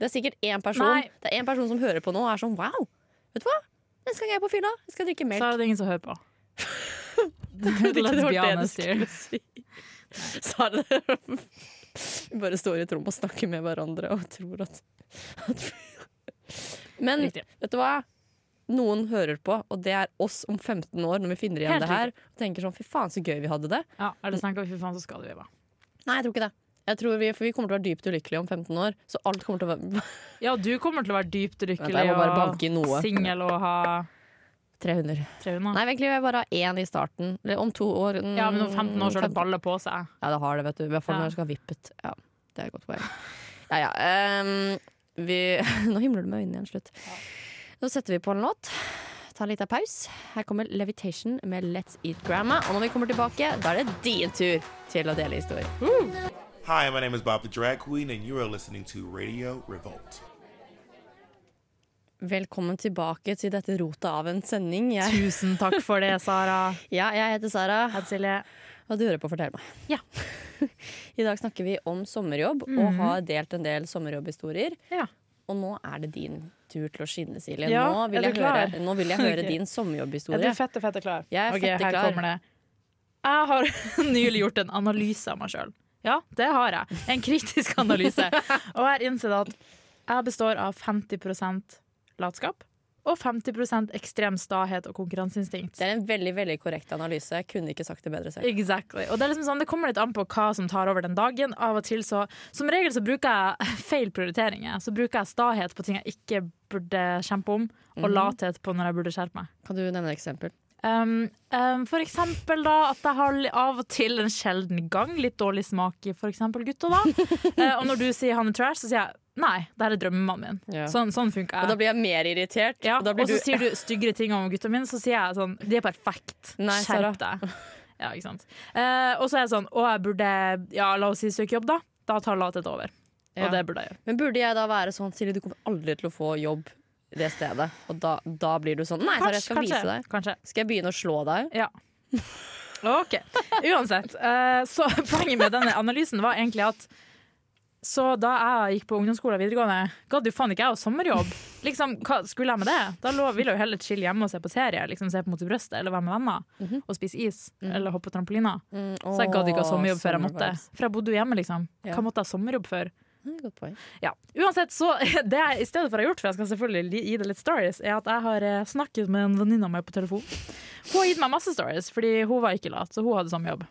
Speaker 4: er sikkert én person
Speaker 2: Nei.
Speaker 4: Det er en person som hører på nå og er sånn wow! Vet du hva? Neste gang jeg er på fylla, jeg skal drikke
Speaker 2: Så
Speaker 4: melk.
Speaker 2: er det ingen som
Speaker 4: [LAUGHS]
Speaker 2: hører på. [LAUGHS]
Speaker 4: det var
Speaker 2: Let's
Speaker 4: det
Speaker 2: be
Speaker 4: du
Speaker 2: honest here.
Speaker 4: si. Sa det Vi bare står i et rom og snakker med hverandre og tror at, at Men
Speaker 2: Riktig.
Speaker 4: Vet du hva? Noen hører på, og det er oss om 15 år når vi finner igjen
Speaker 2: Helt
Speaker 4: det her. Og tenker sånn, fy faen så gøy vi hadde det.
Speaker 2: Ja, er det snakk om fy faen, så skal du gjøre det.
Speaker 4: Nei, jeg tror ikke det. Jeg tror vi, for vi kommer til å være dypt ulykkelige om 15 år. Så alt kommer til å være [LAUGHS]
Speaker 2: Ja, du kommer til å være dypt
Speaker 4: Vent, jeg
Speaker 2: lykkelig
Speaker 4: må bare banke i noe.
Speaker 2: og singel og ha
Speaker 4: 300.
Speaker 2: 300.
Speaker 4: Nei, egentlig vil jeg bare ha én i starten. Eller om to år. mm,
Speaker 2: Ja, men om 15 år så har det
Speaker 4: 15
Speaker 2: baller på seg.
Speaker 4: Ja, det har det, vet du. I hvert fall
Speaker 2: Ja.
Speaker 4: når det skal ha vippet. Ja, det er et godt poeng. Ja, ja. ehm, vi, [LAUGHS] nå himler du med øynene igjen, slutt. Nå setter vi på en låt. Ta en liten pause. Her kommer Levitation med Let's Eat Grandma. Og når vi kommer tilbake, da er det din tur til å dele historier.
Speaker 10: Hi, my name is Bob the Drag Queen, and you are listening to Radio Revolt.
Speaker 4: Velkommen tilbake til dette rotet av en sending.
Speaker 2: [LAUGHS]
Speaker 4: Jeg,
Speaker 2: Tusen takk for det, Sara.
Speaker 4: ja, jeg heter Sara,
Speaker 2: Silje.
Speaker 4: og du hører på Fortell meg.
Speaker 2: Ja.
Speaker 4: [LAUGHS]
Speaker 2: Mhm.
Speaker 4: I dag snakker vi om sommerjobb, og har delt en del sommerjobbhistorier.
Speaker 2: Ja.
Speaker 4: Og nå er det din tur til å skinne, Silje.
Speaker 2: Ja,
Speaker 4: nå, vil
Speaker 2: er
Speaker 4: jeg
Speaker 2: du klar?
Speaker 4: høre, nå vil jeg høre
Speaker 2: [LAUGHS] Ok.
Speaker 4: din
Speaker 2: Er du
Speaker 4: sommerjobbhistorie.
Speaker 2: fette, fette klar?
Speaker 4: Jeg er
Speaker 2: Ok,
Speaker 4: fette
Speaker 2: her
Speaker 4: klar.
Speaker 2: kommer det. Jeg har [LAUGHS] nylig gjort en analyse av meg sjøl. Ja, det har jeg. En kritisk
Speaker 4: [LAUGHS]
Speaker 2: analyse. Og jeg har innsett at jeg består av 50 latskap og 50 ekstrem stahet og konkurranseinstinkt.
Speaker 4: Det er en veldig veldig korrekt analyse. Jeg kunne ikke sagt det bedre selv.
Speaker 2: Exactly. Og det, er liksom sånn, det kommer litt an på hva som tar over den dagen. Av og til så, Som regel så bruker jeg feil prioriteringer. Så bruker jeg stahet på ting jeg ikke burde kjempe om, og
Speaker 4: Mhm.
Speaker 2: lathet på når jeg burde skjerpe meg.
Speaker 4: Kan du nevne et eksempel?
Speaker 2: Um, um, for eksempel da at jeg har li- av og til en sjelden gang litt dårlig smak i for eksempel gutter. da.
Speaker 4: [LAUGHS]
Speaker 2: Eh, og når du sier han er trash, så sier jeg nei, det her er drømmemannen min.
Speaker 4: Ja.
Speaker 2: Sånn, sånn funker jeg.
Speaker 4: Og da blir jeg mer irritert.
Speaker 2: Ja,
Speaker 4: og da
Speaker 2: og
Speaker 4: blir du
Speaker 2: så sier du styggere ting om gutta mine, så sier jeg sånn De er perfekt.
Speaker 4: Nei, Sara.
Speaker 2: Skjerp deg. Ja, ikke sant. Eh, og så er jeg sånn Å, jeg burde Ja, la oss si søke jobb, da. Da tar latet over.
Speaker 4: Ja.
Speaker 2: Og det burde jeg gjøre.
Speaker 4: Men burde jeg da være sånn, Silje, du kommer aldri til å få jobb det stedet? Og da, da blir du sånn Nei, Sara, jeg skal vise deg.
Speaker 2: kanskje.
Speaker 4: Skal jeg begynne å slå deg?
Speaker 2: Ja. OK. Uansett. eh, så [LAUGHS] poenget med denne analysen var egentlig at så da jeg gikk på ungdomsskolen og videregående, gadd jo faen ikke jeg å sommerjobb. Liksom, hva skulle jeg med det? Da lå, ville jeg jo heller chille hjemme og se på serie, liksom se på Mot i brøstet, eller være med venner og spise is, eller hoppe på trampolina. Så jeg gadd ikke ha sommerjobb før jeg måtte. For jeg bodde jo hjemme, liksom.
Speaker 4: Ja.
Speaker 2: Hva måtte jeg ha sommerjobb for?
Speaker 4: Mm, Godt poeng.
Speaker 2: Ja. Uansett, så [LAUGHS] det jeg i stedet for har gjort, for jeg skal selvfølgelig li- gi det litt stories, er at jeg har eh, snakket med en venninne av meg på telefon. Hun har gitt meg masse stories, fordi hun var ikke lat, så hun hadde samme jobb.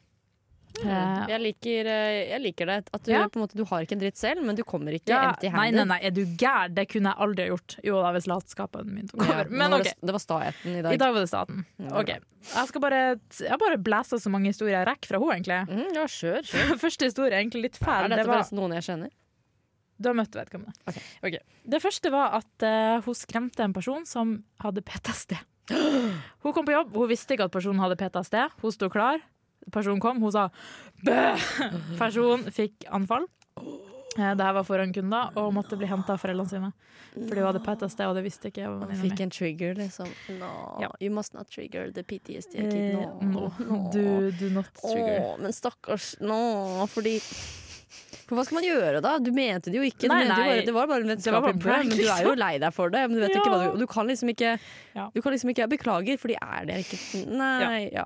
Speaker 4: Mm.
Speaker 2: Eh,
Speaker 4: Jeg liker, eh, jeg liker det. At du,
Speaker 2: Ja.
Speaker 4: på en måte, du har ikke en dritt selv, men du kommer ikke
Speaker 2: ja,
Speaker 4: empty
Speaker 2: nei, nei,
Speaker 4: handed.
Speaker 2: nei, er du gær? Det kunne jeg aldri ha gjort. Jo da, hvis latskapen min tok over. Men OK.
Speaker 4: det, det var staheten i dag.
Speaker 2: I dag var det staten. Ok, Jeg skal bare Jeg har bare blæsa så mange historier jeg rekker fra henne, egentlig.
Speaker 4: Mm, ja, sure, sure.
Speaker 2: [LAUGHS] Første historie er egentlig litt fæl.
Speaker 4: Er dette
Speaker 2: Det var-
Speaker 4: forresten noen jeg kjenner?
Speaker 2: Du har møtt vedkommende. Ok. Det første var at eh, hun skremte en person som hadde
Speaker 4: [GASPS]
Speaker 2: PTSD. Hun kom på jobb, hun visste ikke at personen hadde PTSD. Hun sto klar. Personen kom, hun sa
Speaker 4: [GASPS]
Speaker 2: bø! Personen fikk anfall. Eh, Det her var foran kunder og måtte bli henta av foreldrene sine. Fordi hun hadde PTSD, og det visste ikke
Speaker 4: Og
Speaker 2: venninna
Speaker 4: fikk
Speaker 2: mi.
Speaker 4: en trigger, liksom. No,
Speaker 2: Ja.
Speaker 4: you must not trigger the PTSD kid.
Speaker 2: Eh,
Speaker 4: No.
Speaker 2: no. Do, do not trigger.
Speaker 4: Åh, men stakkars nå, fordi For hva skal man gjøre da? Du mente det jo ikke. Du
Speaker 2: Nei,
Speaker 4: mente jo
Speaker 2: nei.
Speaker 4: bare, det var bare en
Speaker 2: Det var bare
Speaker 4: vennskapelig
Speaker 2: prank,
Speaker 4: prank, men du er jo
Speaker 2: liksom.
Speaker 4: lei deg for det. Men du vet ikke
Speaker 2: Ja.
Speaker 4: hva du, og du kan liksom ikke
Speaker 2: Ja.
Speaker 4: Du kan liksom ikke Jeg beklager, for de er der ikke. Nei, ja.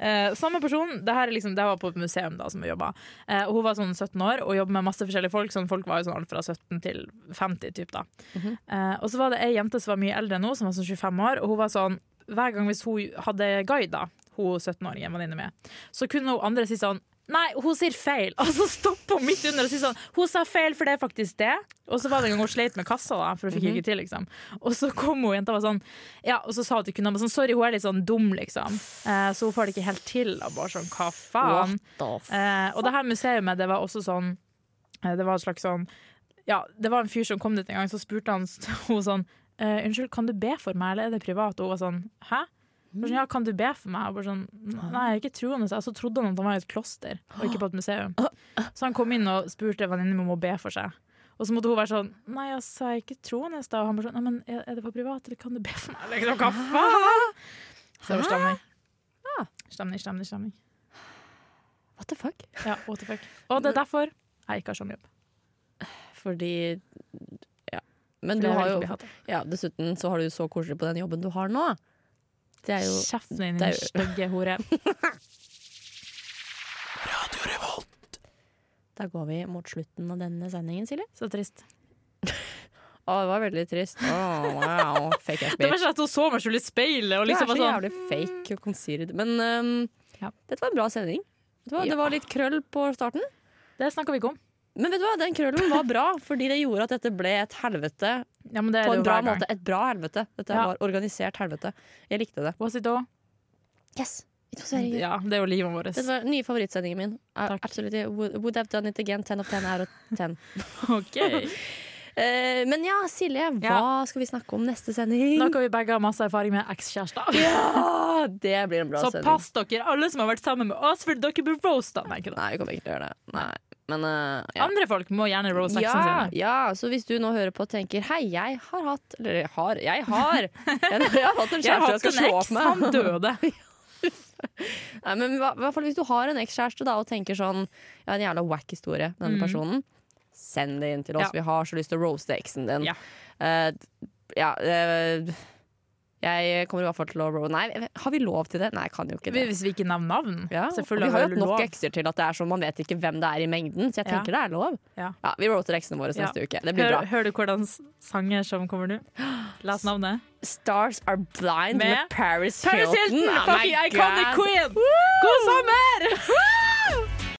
Speaker 2: Eh, samme person, det her, er liksom, det her var på et museum da som vi jobba. Eh, og hun var sånn 17 år og jobbet med masse forskjellige folk. Sånn, folk var jo sånn alt fra 17 til 50 typ da. eh, og så var det ei jente som var mye eldre enn henne, som var sånn 25 år. Og hun var sånn, hver gang hvis hun hadde guida hun 17-åringen venninne mi, så kunne hun andre si sånn Nei, hun sier feil! [LAUGHS] Og så stopper hun midt under og sier sånn Hun sa feil, for det er faktisk det. Og så var det en gang hun sleit med kassa, da, for hun fikk ikke til, liksom. Og så kom hun jenta og var sånn Ja, og så sa hun til kundene sånn Sorry, hun er litt sånn dum, liksom. Eh, så hun får det ikke helt til. Og bare sånn, hva faen? Eh, og det her museet, det var også sånn eh, Det var et slags sånn Ja, det var en fyr som kom dit en gang, så [LAUGHS] spurte han s- hun sånn eh, Unnskyld, kan du be for meg, eller er det privat? Og hun var sånn Hæ? Jeg var Sånn, ja, kan du be for meg? Og bare sånn, Nei, jeg er ikke troende. Så så trodde han at han var i et kloster, og ikke på et museum. Så han kom inn og spurte venninnen min om å be for seg. Og så måtte hun være sånn Nei, altså, jeg er ikke troende. da. Og han bare sånn Nei, men er, er det på privat, eller kan du be for meg? Eller liksom, hva faen? Så det var stemning. Stemning, stemning, stemning.
Speaker 4: What the fuck?
Speaker 2: Ja, what the fuck. Og det er derfor jeg ikke har sånn jobb.
Speaker 4: Fordi Ja. Men
Speaker 2: For
Speaker 4: du
Speaker 2: jeg
Speaker 4: har
Speaker 2: vil
Speaker 4: jo
Speaker 2: ikke bli hatet.
Speaker 4: ja, Dessuten så har du så koselig på den jobben du har nå. Det er jo
Speaker 2: Kjeften din,
Speaker 4: det er
Speaker 2: din
Speaker 4: jo- [LAUGHS]
Speaker 2: stygge hore.
Speaker 4: Da går vi mot slutten av denne sendingen, Silje.
Speaker 2: Så trist.
Speaker 4: Å, det var veldig trist. Åh, wow.
Speaker 2: [LAUGHS]
Speaker 4: Fake ass
Speaker 2: Det var
Speaker 4: bitch.
Speaker 2: sånn at hun så meg selv i speilet og
Speaker 4: Du
Speaker 2: liksom
Speaker 4: er
Speaker 2: var
Speaker 4: så
Speaker 2: sånn
Speaker 4: jævlig fake og concealed. Men øhm,
Speaker 2: Ja.
Speaker 4: dette var en bra sending. Vet du hva?
Speaker 2: Ja.
Speaker 4: Det var litt krøll på starten.
Speaker 2: Det snakker vi ikke om.
Speaker 4: Men vet du hva, den krøllen var bra,
Speaker 2: [LAUGHS]
Speaker 4: fordi det gjorde at dette ble et helvete.
Speaker 2: Ja, men det er
Speaker 4: På en
Speaker 2: det jo
Speaker 4: bra
Speaker 2: hver gang.
Speaker 4: måte. Et bra helvete. Dette
Speaker 2: Ja.
Speaker 4: var organisert helvete. Jeg likte det.
Speaker 2: Was it all?
Speaker 4: Yes! It was very good.
Speaker 2: Ja, det er jo livet vårt. [LAUGHS]
Speaker 4: Dette var den nye favorittsendingen min.
Speaker 2: Takk.
Speaker 4: Absolutt. Would, would have done it again. 10 of 10 er og
Speaker 2: [LAUGHS]
Speaker 4: 10.
Speaker 2: OK.
Speaker 4: Eh, men ja, Silje, hva
Speaker 2: Ja.
Speaker 4: skal vi snakke om neste sending?
Speaker 2: Nå kan vi begge ha masse erfaring med ekskjærester. [LAUGHS]
Speaker 4: Ja, det blir en bra
Speaker 2: Så
Speaker 4: sending.
Speaker 2: pass dere, alle som har vært sammen med oss, for dere blir roasta. Nei, ikke da.
Speaker 4: Nei, vi kommer ikke til å gjøre det. Nei. Men eh, ja.
Speaker 2: Andre folk må gjerne roaste eksen
Speaker 4: Ja,
Speaker 2: sin.
Speaker 4: ja, så hvis du nå hører på og tenker Hei, jeg har hatt Eller jeg har, jeg har Jeg, jeg har hatt en kjæreste
Speaker 2: [LAUGHS] Jeg har
Speaker 4: jeg
Speaker 2: hatt
Speaker 4: skal
Speaker 2: en
Speaker 4: slå opp
Speaker 2: eks, han
Speaker 4: med [LAUGHS]
Speaker 2: døde.
Speaker 4: Nei, men i hva- hvert fall hvis du har en ekskjæreste da, Og tenker sånn, jeg har en jævla whack historie med Denne personen Send det inn til oss,
Speaker 2: Mm. Ja.
Speaker 4: vi har så lyst til å roaste eksen din
Speaker 2: Ja.
Speaker 4: Eh, d- ja eh, Jeg kommer i hvert fall til å roaste Nei, har vi lov til det? Nei, jeg kan jo ikke det
Speaker 2: Hvis vi ikke nevner navn.
Speaker 4: ja, og
Speaker 2: Selvfølgelig
Speaker 4: vi har jo
Speaker 2: det
Speaker 4: hatt nok
Speaker 2: lov.
Speaker 4: ekser til at det er sånn Man vet ikke hvem det er i mengden Så jeg
Speaker 2: Ja.
Speaker 4: tenker det er lov
Speaker 2: Ja.
Speaker 4: Ja, vi roaster eksene våre
Speaker 2: Ja.
Speaker 4: neste uke Det blir bra
Speaker 2: Hør, hører du hvordan s- sanger som kommer nå? [GASPS] Les navnet.
Speaker 4: Stars Are Blind med,
Speaker 2: Med
Speaker 4: Paris Hilton.
Speaker 2: Paris Hilton!
Speaker 4: Oh my
Speaker 2: Fucking iconic
Speaker 4: God.
Speaker 2: queen! God sommer!